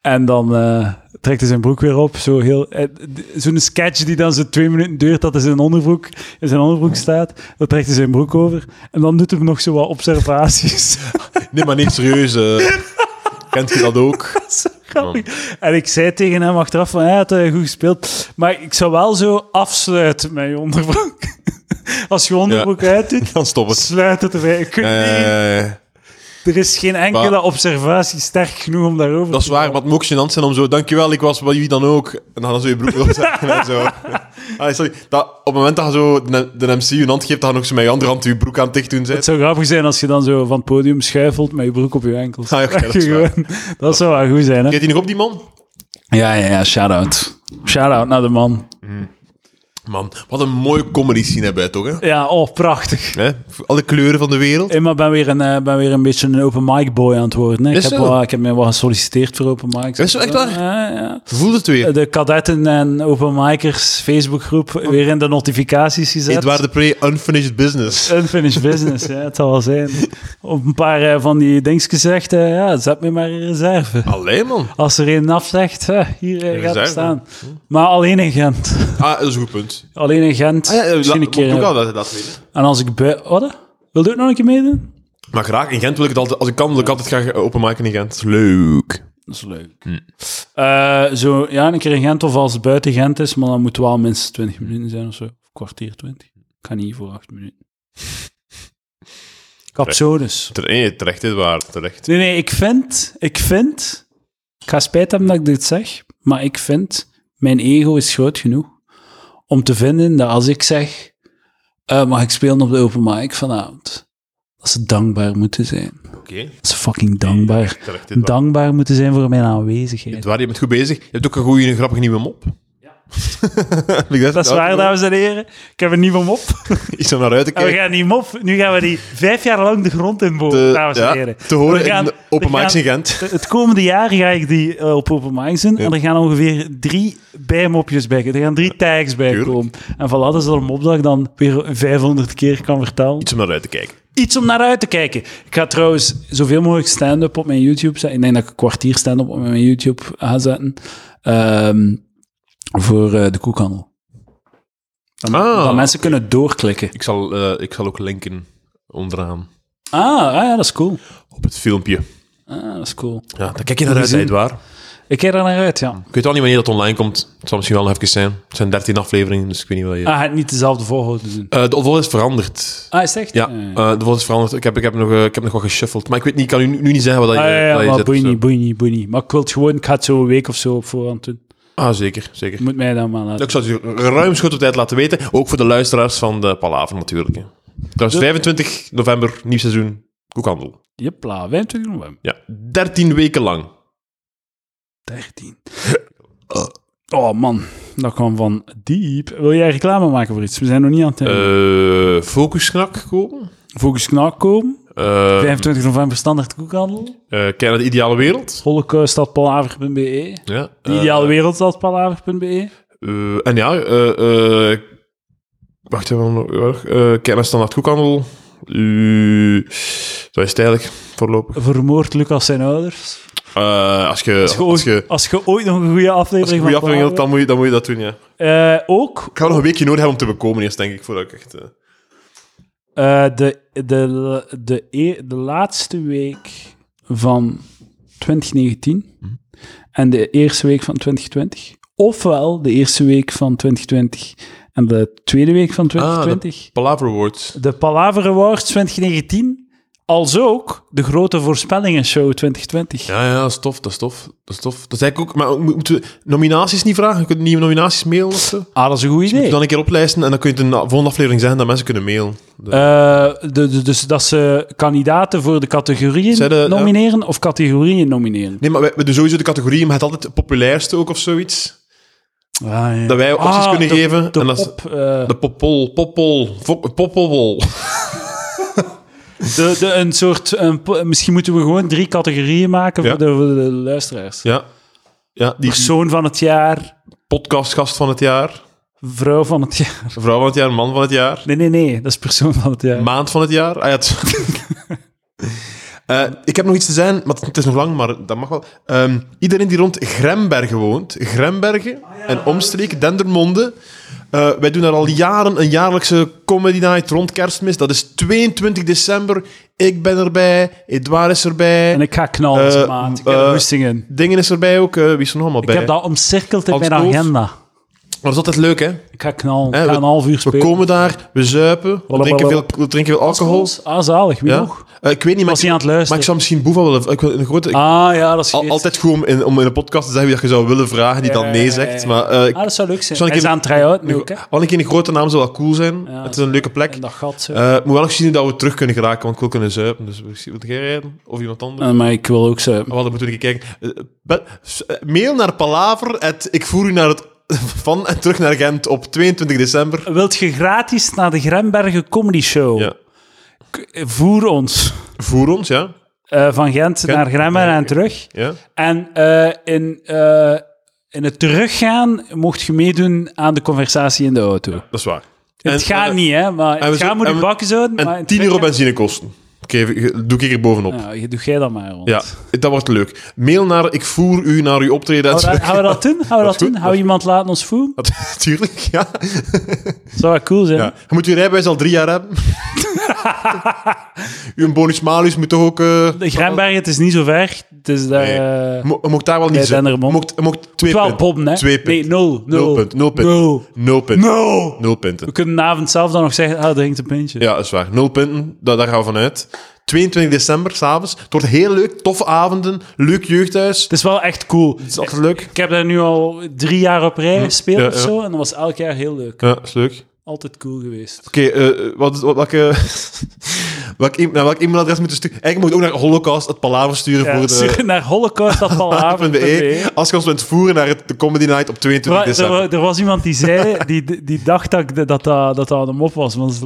En dan eh, trekt hij zijn broek weer op. Zo heel, eh, d- zo'n sketch die dan zo twee minuten duurt dat hij zijn onderbroek, in zijn onderbroek staat. Dan trekt hij zijn broek over. En dan doet hij nog zo wat observaties. [laughs] Nee, maar niet serieus. eh. kent je dat ook? [laughs] Zo grappig. En ik zei tegen hem achteraf van, ja, het eh, goed gespeeld. Maar ik zou wel zo afsluiten met je onderbroek. [laughs] Als je onderbroek [laughs] uitdoet, Dan stop het. sluit het erbij. Je kunt niet- Eh, er is geen enkele maar- observatie sterk genoeg om daarover dat is waar, maar het moet ook gênant zijn om zo... Dankjewel, ik was bij wie dan ook. En dan zo je broek opzetten en [laughs] zo. Allee, sorry. Dat, op het moment dat je zo de, de MC je hand geeft, dan ook zo met je andere hand je broek aan het dicht doen Het zit. zou grappig zijn als je dan zo van het podium schuifelt met je broek op je [laughs] enkels. Ah, oké, dat is Gewoon- dat zou wel goed zijn, hè? Kijk je nog op die man? Ja, ja, ja, shout-out. Shout-out naar de man. Man, wat een mooie comedy scene hebben wij toch, hè? Ja, oh, prachtig. Hè? Alle kleuren van de wereld. Ik ben weer, een, eh, ben weer een beetje een open mic boy aan het worden. Hè. Ik, Is heb zo? wel, ik heb me wel gesolliciteerd voor open mics. Is zo, echt waar? Ja, ja. Voel het weer. De kadetten en open micers Facebookgroep weer in de notificaties gezet. Edouard de Pre, Unfinished Business. Unfinished business, ja, het zal wel zijn. Op een paar eh, van die dings gezegd, eh, ja, zet me maar in reserve. Allee, man. Als er een afzegt, eh, hier eh, gaat reserve. het staan. Maar alleen in Gent. Ah, dat is een goed punt. Alleen in Gent. Ah, ja, eh, la- Misschien een keer. moet ook al dat, dat weten. En als ik bij... Wat? hè? Wil je ook nog een keer meedoen? Maar graag, in Gent wil ik het altijd... Als ik kan, wil ik altijd graag openmaken in Gent. Leuk. Dat is leuk. Eh, zo, ja, een keer in Gent of als het buiten Gent is, maar dan moet het wel minstens 20 minuten zijn of zo. Of kwartier 20. Ik ga niet voor 8 minuten. Capsones. Tere- Nee, terecht, dit waar. Terecht. Nee, nee, ik vind, ik vind, ik ga spijt hebben dat ik dit zeg, maar ik vind, mijn ego is groot genoeg om te vinden dat als ik zeg, eh, mag ik spelen op de open mic vanavond, dat ze dankbaar moeten zijn. Oké. Dat ze fucking dankbaar, Terecht, dit waar. dankbaar moeten zijn voor mijn aanwezigheid. Edouard, je bent goed bezig. Je hebt ook een goede, een grappige nieuwe mop. [laughs] Ja. Dat is waar, dames en heren. Ik heb een nieuwe [laughs] mop. Iets om naar uit te En we kijken. gaan die mop, nu gaan we die vijf jaar lang de grond in boven, Te, dames ja, en heren. te horen We gaan- in de open we mics gaan- in Gent. Het komende jaar ga ik die eh, op open mics doen. En er gaan ongeveer drie bijmopjes bij. Er gaan drie tags bij Tuurlijk. komen. En voilà, dat is dan een mop dat ik dan weer 500 keer kan vertellen. Iets om naar uit te kijken. Iets om naar uit te kijken. Ik ga trouwens zoveel mogelijk stand-up op mijn YouTube zetten. Ik denk dat ik een kwartier stand-up op mijn YouTube ga zetten. Ehm, voor eh, de koekhandel. Dat, Ah. dat mensen kunnen doorklikken. Ik zal, eh, ik zal ook linken onderaan. Ah, ah ja, dat is cool. Op het filmpje. Ah, dat is cool. Ja, daar kijk je naar uit, Gezien. Edouard. Ik kijk er naar uit, ja. Ah, Ik weet al niet wanneer dat online komt. Het zal misschien wel nog even zijn. Het zijn 13 afleveringen, dus ik weet niet wat je... Ah, hij had niet dezelfde volgorde doen. Eh, de opvolger is veranderd. Ah, is het echt? Ja, Eh. eh, de opvolger is veranderd. Ik heb, ik, heb nog, eh, ik heb nog wat geshuffeld. Maar ik weet niet, ik kan u nu niet zeggen wat dat je, Ah, ja, wat ja, je maar zet, boeien zo. niet, boeien niet, boeien niet. Maar ik wil het gewoon, ik ga het zo een week of zo op voorhand doen. Ah, zeker, zeker. Je moet mij dan maar laten. Ik zou het u ruimschot op tijd laten weten. Ook voor de luisteraars van de Palaver natuurlijk. hè. Trouwens, 25 november, nieuw seizoen, koekhandel. Jepla, 25 november. Ja, 13 weken lang. 13. Oh man, dat kwam van diep. Wil jij reclame maken voor iets? We zijn nog niet aan het einde. Eh Focusgnak komen. Focus Knak komen. Eh 25 november standaard koekhandel. eh, Ken de ideale wereld. Holocaust.palaver.be. Ja. De ideale wereldstadpalaver.be. Eh, en ja, eh, eh, wacht even, uh, kijk naar standaard koekhandel. Eh, dat is het eigenlijk, voorlopig. Vermoord Lucas zijn ouders. Eh, als je, Als je, ooit, als je, als je ooit nog een goede als je aflevering een goede aflevering wilt, van dan moet je, dan moet je dat doen, ja. Vlaanderen- Eh, Ook Ik ga nog een weekje nodig hebben om te bekomen eerst, denk ik, voordat ik echt... eh, eh, de, de, de, de, e- de laatste week van 2019 en de eerste week van 2020. Ofwel de eerste week van 2020 en de tweede week Ah, van 2020. Palaver Awards. De Palaver Awards 2019, als ook de grote voorspellingenshow 2020. Ja, ja, dat is tof, dat is tof. Dat is tof. Dat is eigenlijk ook... Maar ook- moeten we nominaties niet vragen? Je kunt nieuwe nominaties mailen of zo? Ah, dat is een goed idee. Moet je dan een keer oplijsten en dan kun je het in de volgende aflevering zeggen dat mensen kunnen mailen. De- Eh, de, de- dus dat ze kandidaten voor de categorieën Zij de- nomineren of categorieën nomineren. Nee, maar we, we doen sowieso de categorie, maar het altijd het populairste ook of zoiets. Ah, ja. Dat wij opties Ah, kunnen de- geven. de en dat is pop, eh, de popol, popol, fo- popolwol. de- de- een soort, een po- misschien moeten we gewoon drie categorieën maken Ja. voor, de, voor de luisteraars. Ja. ja, die Persoon van het jaar, podcastgast van het jaar, vrouw van het jaar. vrouw van het jaar, man van het jaar, Nee, nee, nee, dat is persoon van het jaar. maand van het jaar. Ah, ja, het- [laughs] Eh, ik heb nog iets te zeggen, maar het is nog lang, maar dat mag wel. Ehm, iedereen die rond Grembergen woont, Grembergen Ah, en omstreek, Dendermonde. eh, wij doen daar al jaren een jaarlijkse comedy night rond kerstmis. Dat is 22 december. Ik ben erbij, Edouard is erbij. En ik ga knallen, Eh, maat. Ik heb eh, goestingen. Dingen is erbij ook. eh, wie is er nog allemaal Ik bij? heb dat omcirkeld in Hans mijn Kools. agenda. Maar dat is altijd leuk, hè? Ik ga knallen. Eh, Ik ga een half uur We spelen. komen daar, we zuipen, we drinken veel, we drinken veel alcohol. Ah, zalig. Wie Ja. nog? Eh, ik weet niet, maar Was ik, hij aan het maar ik luisteren? zou misschien Boeva willen... Ik wil een grote, ik- Ah, ja, dat is al- geest. altijd goed om in, om in een podcast te zeggen wie dat je zou willen vragen, die dan Ja, nee ja, zegt. ja. Maar eh, ik- Ah, dat zou leuk zijn. Zal ik Hij is even- Ah, aan het try-out nu een, ook, hè? al een keer een grote naam zou wel cool zijn. Ja. het is een leuke plek. En dat gat zo. Eh, het moet wel nog zien dat we terug kunnen geraken, want ik wil kunnen zuipen. Dus misschien wil jij rijden, of iemand anders. Eh, maar ik wil ook zo. Wat dan moeten we een keer kijken. Eh, be- s- eh, mail naar Palaver. at- ik voer u naar het, [laughs] van en terug naar Gent op 22 december. Wilt je gratis naar de Grembergen Comedy Show? Ja. K- Voer ons Voer ons, ja. eh, van Gent naar Grembergen en terug. ja. En eh, in, eh, in het teruggaan mocht je meedoen aan de conversatie in de auto. Dat is waar. het En- gaat en- niet, hè? Maar en we het gaat zo- moet en je we- bakken zo. maar in En het 10 euro teruggaan- benzinekosten. Oké, doe ik er bovenop. Ja. Nou, doe jij dat maar, rond. dat wordt leuk. Mail naar ik voer u naar uw optreden. en Gaan we dat- gaan we [laughs] terug. dat doen? Gaan we dat goed, doen? Gaan we iemand laten ons voelen? Natuurlijk, ja. Dat zou wel cool zijn. ja. Je moet je rijbewijs al drie jaar hebben. Uw bonus malus moet toch ook... eh, De Grijnbergen, het is niet zo ver. Het is daar... Nee. eh, mo- je mocht daar wel niet Bij zijn. Je Dendermonde. mocht, je mocht twee Twaalf punten. bommen, hè? Twee punten. Nee, nul. Nul Nul punt, nul punt. Nul. Nul punten. Nul. Nul punten. We kunnen de avond zelf dan nog zeggen, ah, drinkt een pintje. Ja, dat is waar. Nul punten, daar, daar gaan we vanuit. 22 december, s'avonds. Het wordt heel leuk, toffe avonden, leuk jeugdhuis. Het is wel echt cool. Het is altijd leuk. Ik heb daar nu al drie jaar op rij gespeeld Ja, of ja. zo. En dat was elk jaar heel leuk. Ja, is leuk. Altijd cool geweest. Oké, eh, wat, wat, welke, [laughs] welk, e- naar welk e-mailadres moeten sturen? Eigenlijk moet je ook naar Holocaust het palaver sturen Ja, voor stuur [laughs] de... [laughs] naar [laughs] holocaust.palaver.be. .be, E. als je ons wilt voeren naar het, de Comedy Night op 22 Maar er, december. E. wa- er was iemand die zei, die, die dacht dat ik de- dat, dat, dat dat een mop was. Want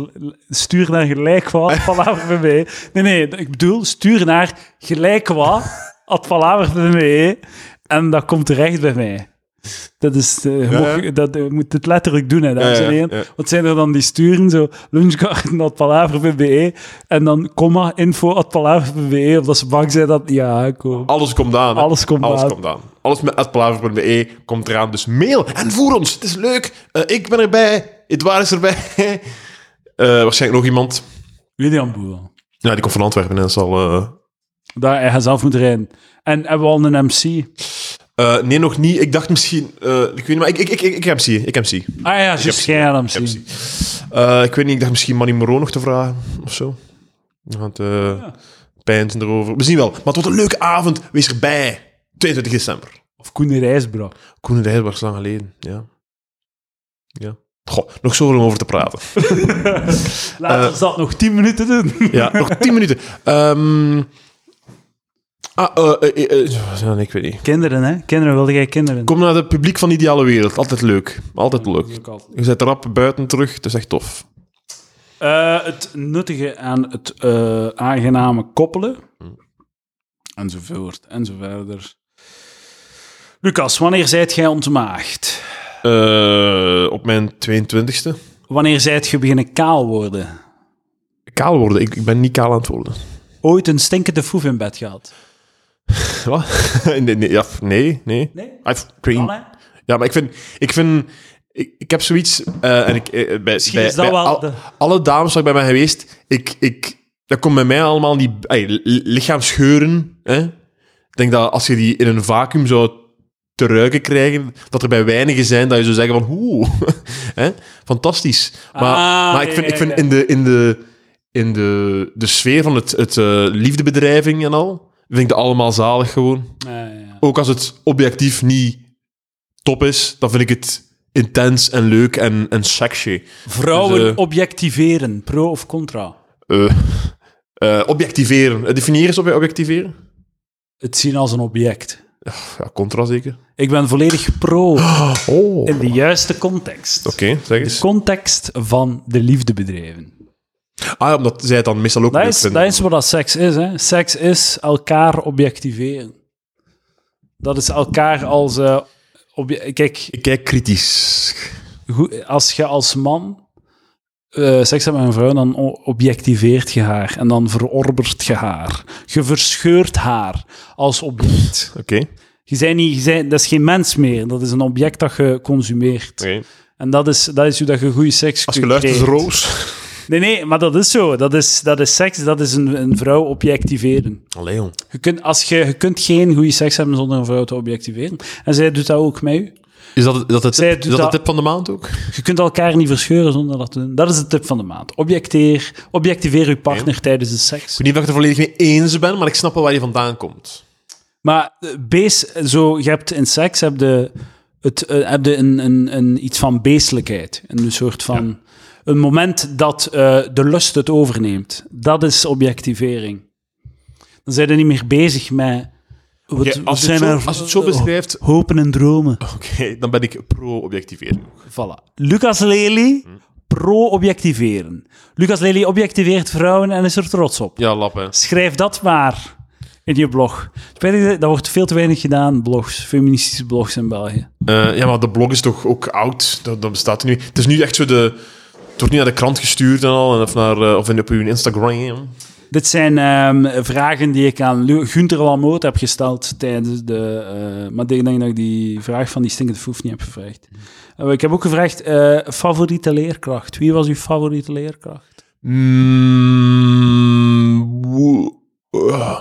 stuur naar gelijk wat, [laughs] palaver.be. Nee, nee, ik bedoel, stuur naar gelijk wat, at palaver.be. En dat komt terecht bij mij. Dat is, eh, je Ja, mag- dat, je moet het letterlijk doen, hè, dames Ja, ja, en heren. ja. Wat zijn er dan die sturen? Zo, lunchgarden.palaver.be en dan comma, info.palaver.be, omdat ze bang zijn dat... Ja, cool. Alles komt aan. hè. Alles komt Alles aan. komt aan. Alles met atpalaver.be komt eraan. Dus mail en voer ons. Het is leuk. Eh, ik ben erbij. Edouard is erbij. [laughs] Eh, waarschijnlijk nog iemand. William Boer. Ja, die komt van Antwerpen en zal... eh, Daar hij gaat zelf moet rijden. En hebben we al een MC? eh, nee, nog niet. Ik dacht misschien... eh, ik weet niet, maar ik, ik, ik, ik, ik MC. Ik MC. Ah ja, juist jij aan hem zien. Eh, ik weet niet, ik dacht misschien Manny Moreau nog te vragen of zo. Want eh pijnzen erover. We zien wel. Maar het wordt een leuke avond. Wees erbij. 22 december. Of Koen Rijsbra. Koen en de Heijs was lang geleden. Ja. ja. Goh, nog zoveel om over te praten. [laughs] Laat ons dat nog 10 minuten doen. ja, nog 10 minuten. Ehm, ah, eh, eh, eh, eh, nee, ik weet niet. [laughs] Kinderen, hè? Kinderen, wilde jij kinderen? Kom naar het publiek van de ideale wereld. Altijd leuk. Altijd leuk. Je zet rap buiten terug. Het is echt tof. Eh, het nuttige aan het eh, aangename koppelen. Enzovoort, enzoverder. Lucas, wanneer zijt jij ontmaagd? Eh, op mijn 22e. Wanneer zijt je beginnen kaal worden? Kaal worden. Ik, ik ben niet kaal aan het worden. Ooit een stinkende foef in bed gehad? [laughs] Wat? nee, nee, Ne- ja, nee, nee. Nee? Ah, ik weet niet. Kan, hè? Ja, maar ik vind... Ik, vind, ik, ik heb zoiets... eh, en ik, eh, bij, bij, is dat bij wel al- de- Alle dames waar ik bij ben geweest, ik... ik dat komt bij mij allemaal die ay, li- lichaamsgeuren. Hè? Ik denk dat als je die in een vacuüm zou te ruiken krijgen, dat er bij weinigen zijn dat je zou zeggen van... Oeh, [laughs] hè? fantastisch. Maar, Ah, maar ik vind, ja, ik vind ja. in, de, in, de, in de, de sfeer van het, het eh, liefdebedrijving en al, vind ik dat allemaal zalig gewoon Ja, ja, ja. ook als het objectief niet top is, dan vind ik het intens en leuk en, en sexy. Vrouwen Dus, eh, objectiveren, pro of contra? Eh, eh, objectiveren. Eh, Definiëren is obje- objectiveren? Het zien als een object. Ja, contra zeker. Ik ben volledig pro Oh. Dus- Oké, in de juiste context. zeg De eens. context van de liefdebedrijven. Ah, ja, omdat zij het dan meestal ook Dat leuk is, vinden. dat is wat dat seks is. Hè. Seks is elkaar objectiveren. Dat is elkaar als... eh, obje- Kijk, Ik kijk kritisch. hoe- als je als man eh, seks hebt met een vrouw, dan o- objectiveert je haar. En dan verorbert je haar. Je verscheurt haar als object. Oké. Je bent niet, je bent- dat is geen mens meer. Dat is een object dat je consumeert. Oké. En dat is, dat is hoe dat je goede seks Als je kunt luistert, creëren. Roos. Nee, nee, maar dat is zo. Dat is, dat is seks, dat is een, een vrouw objectiveren. Allee, jong. Je kunt, als je, je kunt geen goede seks hebben zonder een vrouw te objectiveren. En zij doet dat ook met u. Is dat, het- dat, het, Zij tip, is doet dat dat- de tip van de maand ook? Je kunt elkaar niet verscheuren zonder dat te doen. Dat is de tip van de maand. Objecteer, objectiveer je partner tijdens de seks. Ik weet niet of ik het er volledig mee eens ben, maar ik snap wel waar je vandaan komt. Maar eh, beest, zo, je hebt in seks heb je, het, eh, heb je een, een, een, iets van beestelijkheid. Een soort van... Een moment dat eh, de lust het overneemt. Dat is objectivering. Dan zijn we niet meer bezig met... Wat, Ja, wat als, je het zijn zo, er- als je het zo beschrijft, Oh, Oh, Hopen en dromen. oké, dan ben ik pro-objectivering. Voilà. Lucas Lely, pro-objectiveren. Lucas Lely objectiveert vrouwen en is er trots op. Ja, lap, hè. Schrijf dat maar in je blog. Spijtig, dat wordt veel te weinig gedaan, blogs, feministische blogs in België. Eh, ja, maar de blog is toch ook oud? Dat, dat bestaat nu. Het is nu echt zo de. Het wordt nu naar de krant gestuurd en al, en of, naar, eh, of in, op uw Instagram. Dit zijn ehm, vragen die ik aan Lu- Gunther Lamoot heb gesteld tijdens de... eh, maar ik denk dat ik die vraag van die stinkende foef niet heb gevraagd. Eh, ik heb ook gevraagd, eh, favoriete leerkracht. Wie was uw favoriete leerkracht? Mm, woe- ah,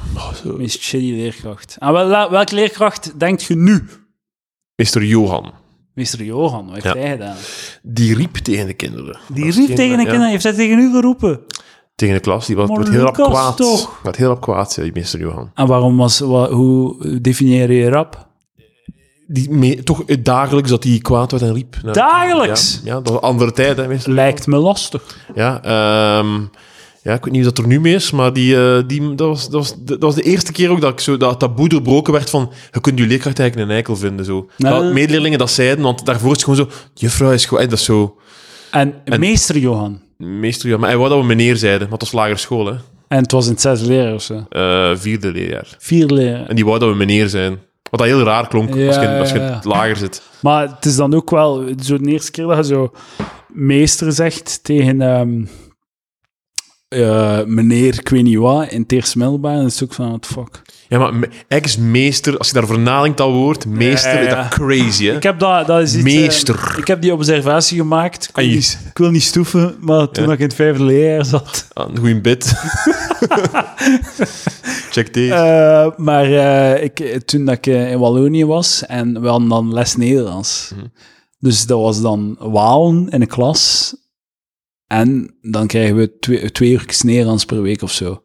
Meest shitty leerkracht. Aan wel, welke leerkracht denkt je nu? Meester Johan, Meester Johan, wat heeft Ja. hij gedaan? die riep tegen de kinderen. Die Dat is riep geen- tegen de ja, kinderen, heeft hij tegen u geroepen? Tegen de klas, die was Maar werd heel rap Lucas kwaad. toch? Werd heel rap kwaad, ja, die meester Johan. En waarom was, wa- hoe definieer je rap? Die, me- toch eh, dagelijks dat hij kwaad werd en riep. Nou, Dagelijks? Ja, ja, dat was een andere tijd, hè, meester. Lijkt me lastig. Ja, ehm, ja, ik weet niet of dat er nu mee is, maar die, eh, die, dat, was, dat, was, dat was de eerste keer ook dat ik zo dat taboe doorbroken werd van je kunt je leerkracht eigenlijk een eikel vinden. Zo. Nou. Dat medeleerlingen dat zeiden, want daarvoor is het gewoon zo, juffrouw is gewoon, eh, dat is zo, En, meester Johan. meester, ja, maar hij wou dat we meneer zeiden, want dat was lagere school, hè. En het was in het zesde leraar of zo. Eh, vierde leerjaar. Vier leraar. En die wou dat we meneer zijn. Wat dat heel raar klonk Ja, als je, als je ja, ja. lager zit. Maar het is dan ook wel zo de eerste keer dat je zo meester zegt tegen ehm, eh, meneer ik weet niet wat in het eerste middelbaar. En dat is ook van, what the fuck. Ja, maar me- ex-meester, als je daarvoor nadenkt, dat woord, meester, Ja, ja, ja. dat crazy, hè. Ik heb, dat, dat is iets, eh, Meester. ik heb die observatie gemaakt. Ik wil, Ai. niet, ik wil niet stoeven, maar toen Ja. ik in het vijfde leraar zat... Ah, Een [laughs] goeie bit. Check deze. Eh, maar eh, ik, eh, toen dat ik eh, in Wallonië was en we hadden dan les Nederlands. Mhm. Dus dat was dan Walen in de klas. En dan krijgen we twee, twee uur Nederlands per week of zo.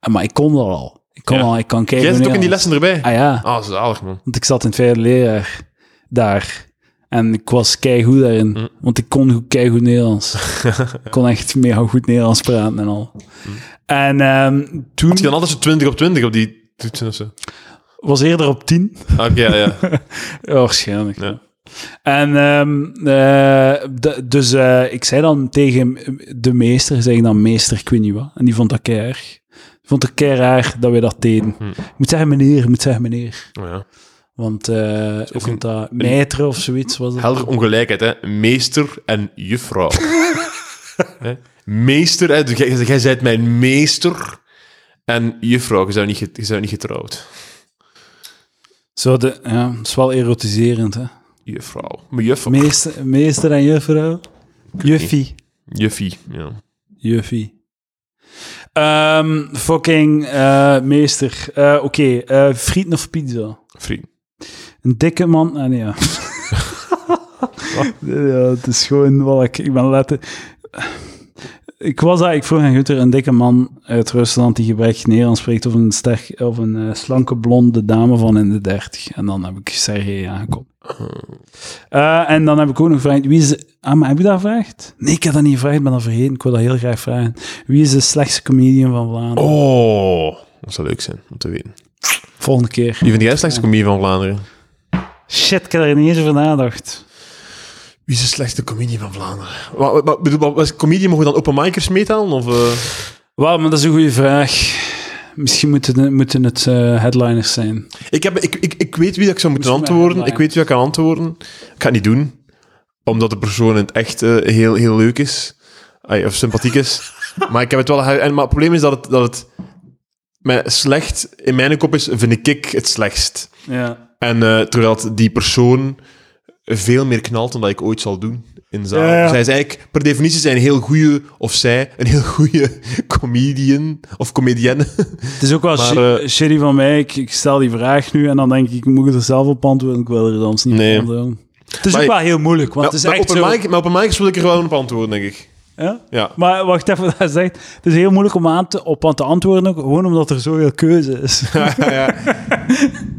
En, maar ik kon dat al. Ik kon Ja. al, ik kan kijken. Jij zit hoe ook in die Nederlands- lessen erbij. Ah ja, Ah, zalig, man. want ik zat in het vijfde leerjaar daar. En ik was keigoed daarin. Mhm. Want ik kon goed- keigoed [laughs] Nederlands. ik kon echt mega goed Nederlands praten en al. En ehm, toen Mhm. Had je dan altijd zo 20 op 20 op die toetsen of zo? was eerder op tien. Ah, Oké, ja, [laughs] ja. Ja, Oh, waarschijnlijk. Ja. ja. En ehm, eh, d- dus eh, ik zei dan tegen de meester, zeg ik dan meester, ik weet niet wat. En die vond dat kei erg. Die vond het kei raar dat wij dat deden. Ik moet zeggen meneer, ik moet zeggen meneer. Oh, ja. Want eh ik vond dat metre of zoiets was het. Helder ongelijkheid, hè. Meester en [laughs] juffrouw. Hè? meester, hè. Dus jij- jij bent mijn meester. En juffrouw, je zou niet, ge- je zou niet getrouwd. Zo de, ja, het is wel erotiserend, hè. Juffrouw. Maar juffrouw. Meester, meester en juffrouw. Juffie. Juffie, ja. Juffie. Ehm, fucking eh, meester. Eh, Oké, eh, frieten of pizza? Vriend. Een dikke man. Ah, nee, ja. ja, het is gewoon wat ik. Ik ben letten. Ik was daar, ik vroeg aan Guter, een dikke man uit Rusland die gebrek Nederlands spreekt of een, sterk, of een eh, slanke blonde dame van in de dertig. En dan heb ik Sergej aangekomen. Eh, en dan heb ik ook nog gevraagd, wie is... de- Ah, maar heb je dat gevraagd? Nee, ik heb dat niet gevraagd, ik ben dat vergeten. Ik wil dat heel graag vragen. Wie is de slechtste comedian van Vlaanderen? Oh, dat zou leuk zijn om te weten. Volgende keer. Wie vind jij de slechtste comedie van Vlaanderen? Shit, ik heb er niet eens over nagedacht. Wie is de slechtste comedie van Vlaanderen? Wat, wat, wat- bedoel, wat, wat is comedie? Mogen we dan openmikers meetalen? Of, eh? Wauw, maar dat is een goede vraag. Misschien moeten, moeten het eh, headliners zijn. ik, heb, ik, ik, ik weet wie dat ik zou moeten Misschien maar antwoorden. headline. Ik weet wie ik kan antwoorden. Ik ga het niet doen. Omdat de persoon in het echt eh, heel, heel leuk is. Ai, of sympathiek [laughs] is. maar ik heb het wel... ge- En, maar het probleem is dat het... Dat het mijn slecht in mijn kop is, vind ik het slechtst. Ja. En eh, terwijl het die persoon veel meer knalt dan dat ik ooit zal doen in zaal. Ja, ja. Zij is eigenlijk, per definitie zijn heel goede, of zij, een heel goede [laughs] comedian of comedienne. Het is ook wel Maar, shi- eh, shitty van mij. Ik, ik stel die vraag nu en dan denk ik, ik moet er zelf op antwoorden. Ik wil er dan niet Nee. op antwoorden. Het is Maar ook je- wel heel moeilijk, want het Maar, is maar echt open zo... mic, maar open mics wil ik er wel op antwoorden, denk ik. Ja? Ja. Maar wacht even, [laughs] dat zegt, het is heel moeilijk om aan te, op aan te antwoorden, ook, gewoon omdat er zoveel keuze is. [laughs]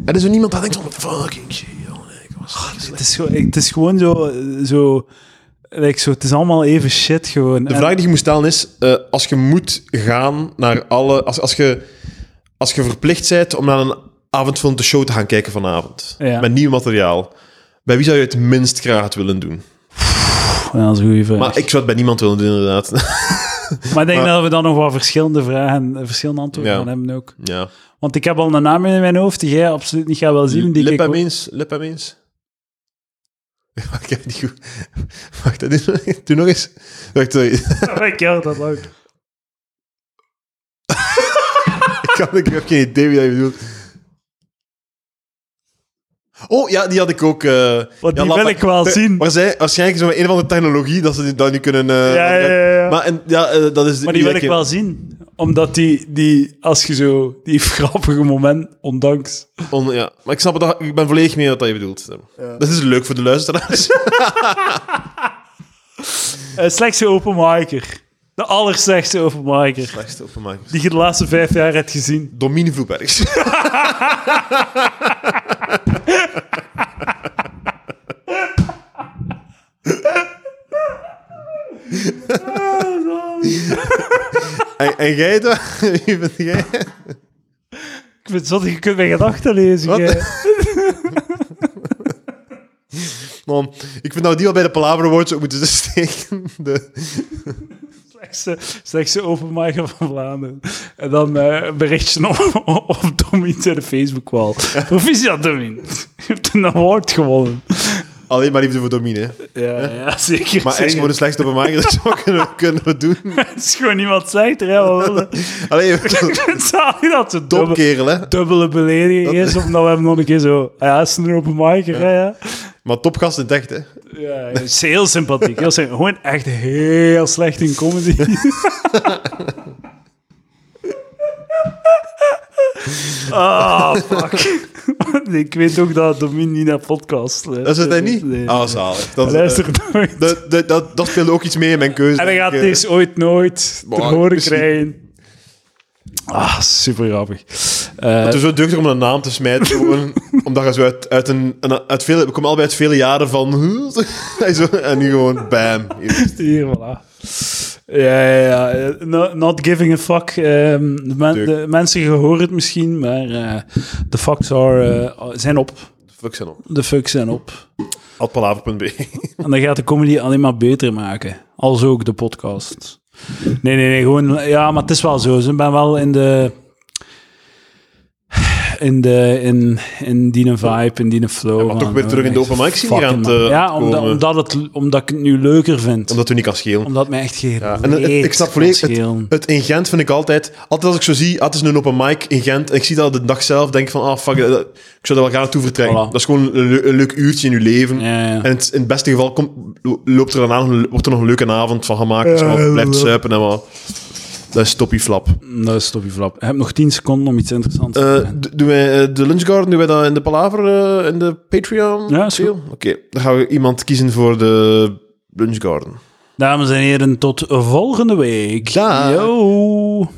Er is er niemand dat denkt van, fucking shit, joh, nee, ik was slecht. [laughs] het, is gewoon, het is gewoon zo... zo, like zo het is allemaal even shit gewoon. De En- vraag die je moet stellen is, eh, als je moet gaan naar alle... Als, als, je, als je verplicht bent om naar een avondfilm de show te gaan kijken vanavond, Ja. met nieuw materiaal, bij wie zou je het minst graag het willen doen? Ja, dat is een goede vraag. Maar ik zou het bij niemand willen doen, inderdaad. [laughs] Maar ik denk Maar- dat we dan nog wel verschillende vragen, eh, verschillende antwoorden Ja. van hebben ook. ja. Want ik heb al een naam in mijn hoofd die jij absoluut niet gaat wel zien. Die Lip ik hem ook- eens, lip hem eens. [laughs] Wacht, ik heb het niet goed. [laughs] Wacht, dat is- doe nog eens. Wacht, sorry. [laughs] Ik Ja, dat ook. [laughs] kan- Ik heb geen idee wie dat je bedoelt. Oh, ja, die had ik ook. eh, Want ja, die laat wil maar- ik wel te- zien. Maar zij, waarschijnlijk zo met een of andere technologie dat ze die- dat nu kunnen... eh, Ja, ja, ja, ja. Maar, en, ja, eh, dat is Maar die wil dat ik wel zien. Omdat die, die als je zo, die [laughs] grappige moment, ondanks. On- ja. Maar ik snap het, ik ben volledig mee wat dat je bedoelt. Dat is leuk voor de luisteraars. Eh, slechtste openmaker. De allerslechtste openmaker. Slechtste openmaker. Die je de laatste vijf jaar hebt gezien. Domine Vloebergs. [laughs] en, en jij dan? [laughs] Wie bent jij? Ik vind het zot, je kunt mijn gedachten lezen. Wat? jij. Man, ik vind dat we die wel bij de Palaver Awards ook moeten steken. De, Slechtste, slechtste openmaker van Vlaanderen. En dan eh, een berichtje op, op Domin zijn Facebook wall. Proficiat Domin. Je hebt een award gewonnen. alleen maar liefde voor Domine. hè. Ja, ja zeker. Maar echt zeker. gewoon de slechtste openmaker, dat zou kunnen, kunnen we doen. Het is gewoon niemand zegt er helemaal wel. [laughs] Alleen, [laughs] Het zalig dat ze dubbele, topkerel, hè. dubbele belediging is, omdat we hem nog een keer zo... Ah Ja, is een open micer, ja. Ja, Maar topgast in het echt, hè. ja. hij is heel sympathiek. Heel symp- Gewoon echt heel slecht in [laughs] comedy. Ah, fuck. [laughs] Ik weet ook dat Domin niet naar podcast luistert. Dat is het, hè, niet? Nee. Ah, zalig. Dat, Hij luistert nooit. dat, dat, dat, dat speelde ook iets mee in mijn keuze. En hij gaat Ik, eh, deze ooit nooit te maar horen misschien- krijgen. Ah, super grappig. Eh, Het is zo duchtig om een naam te [laughs] smijten, gewoon, omdat je zo uit, uit een... een- uit vele, we komen allebei uit vele jaren van... [laughs] en zo- en nu gewoon, bam. hier. Hier, voilà. Ja, ja, ja. No- not giving a fuck. Ehm, de, men- Tuurlijk. de mensen gehoord het misschien, maar eh, de fucks are, eh, zijn op. Fuck nou. zijn op. De fucks zijn op. Atpalaver.be. En dan gaat de comedy alleen maar beter maken. Als ook de podcast. Nee, nee, nee. Gewoon, ja, maar het is wel zo. Ze ben wel in de... in, de, in, in die vibe, in die flow. maar van, toch weer eh, terug in de open mic scene fucking gaan te man. Ja, omdat, komen. omdat, het, omdat ik het nu leuker vind. Omdat, [laughs] Omdat het u niet kan schelen. het mij echt geen Ja, en het- reet ik snap kan volledig, het, schelen. het in Gent vind ik altijd... Altijd als ik zo zie, ah, het is een open mic in Gent, en ik zie dat de dag zelf, denk ik van, ah, fuck, eh, dat- ik zou daar wel gaan naartoe vertrekken. Voilà. Dat is gewoon een, le- een leuk uurtje in je leven. Ja, ja. En het- in het beste geval komt, lo- loopt er dan aan, wordt er nog een leuke avond van gemaakt. Dus Ja, man blijft ja. zuipen en wat. Dat is toppie flap. Dat is Toppie Flap. Je hebt nog 10 seconden om iets interessants te Eh, zeggen. d- doen wij eh, de lunch garden, doen wij dat in de palaver, eh, in de Patreon? Ja, is goed. deal? Oké, dan gaan we iemand kiezen voor de lunch garden. Dames en heren, tot volgende week. Dag. Yo.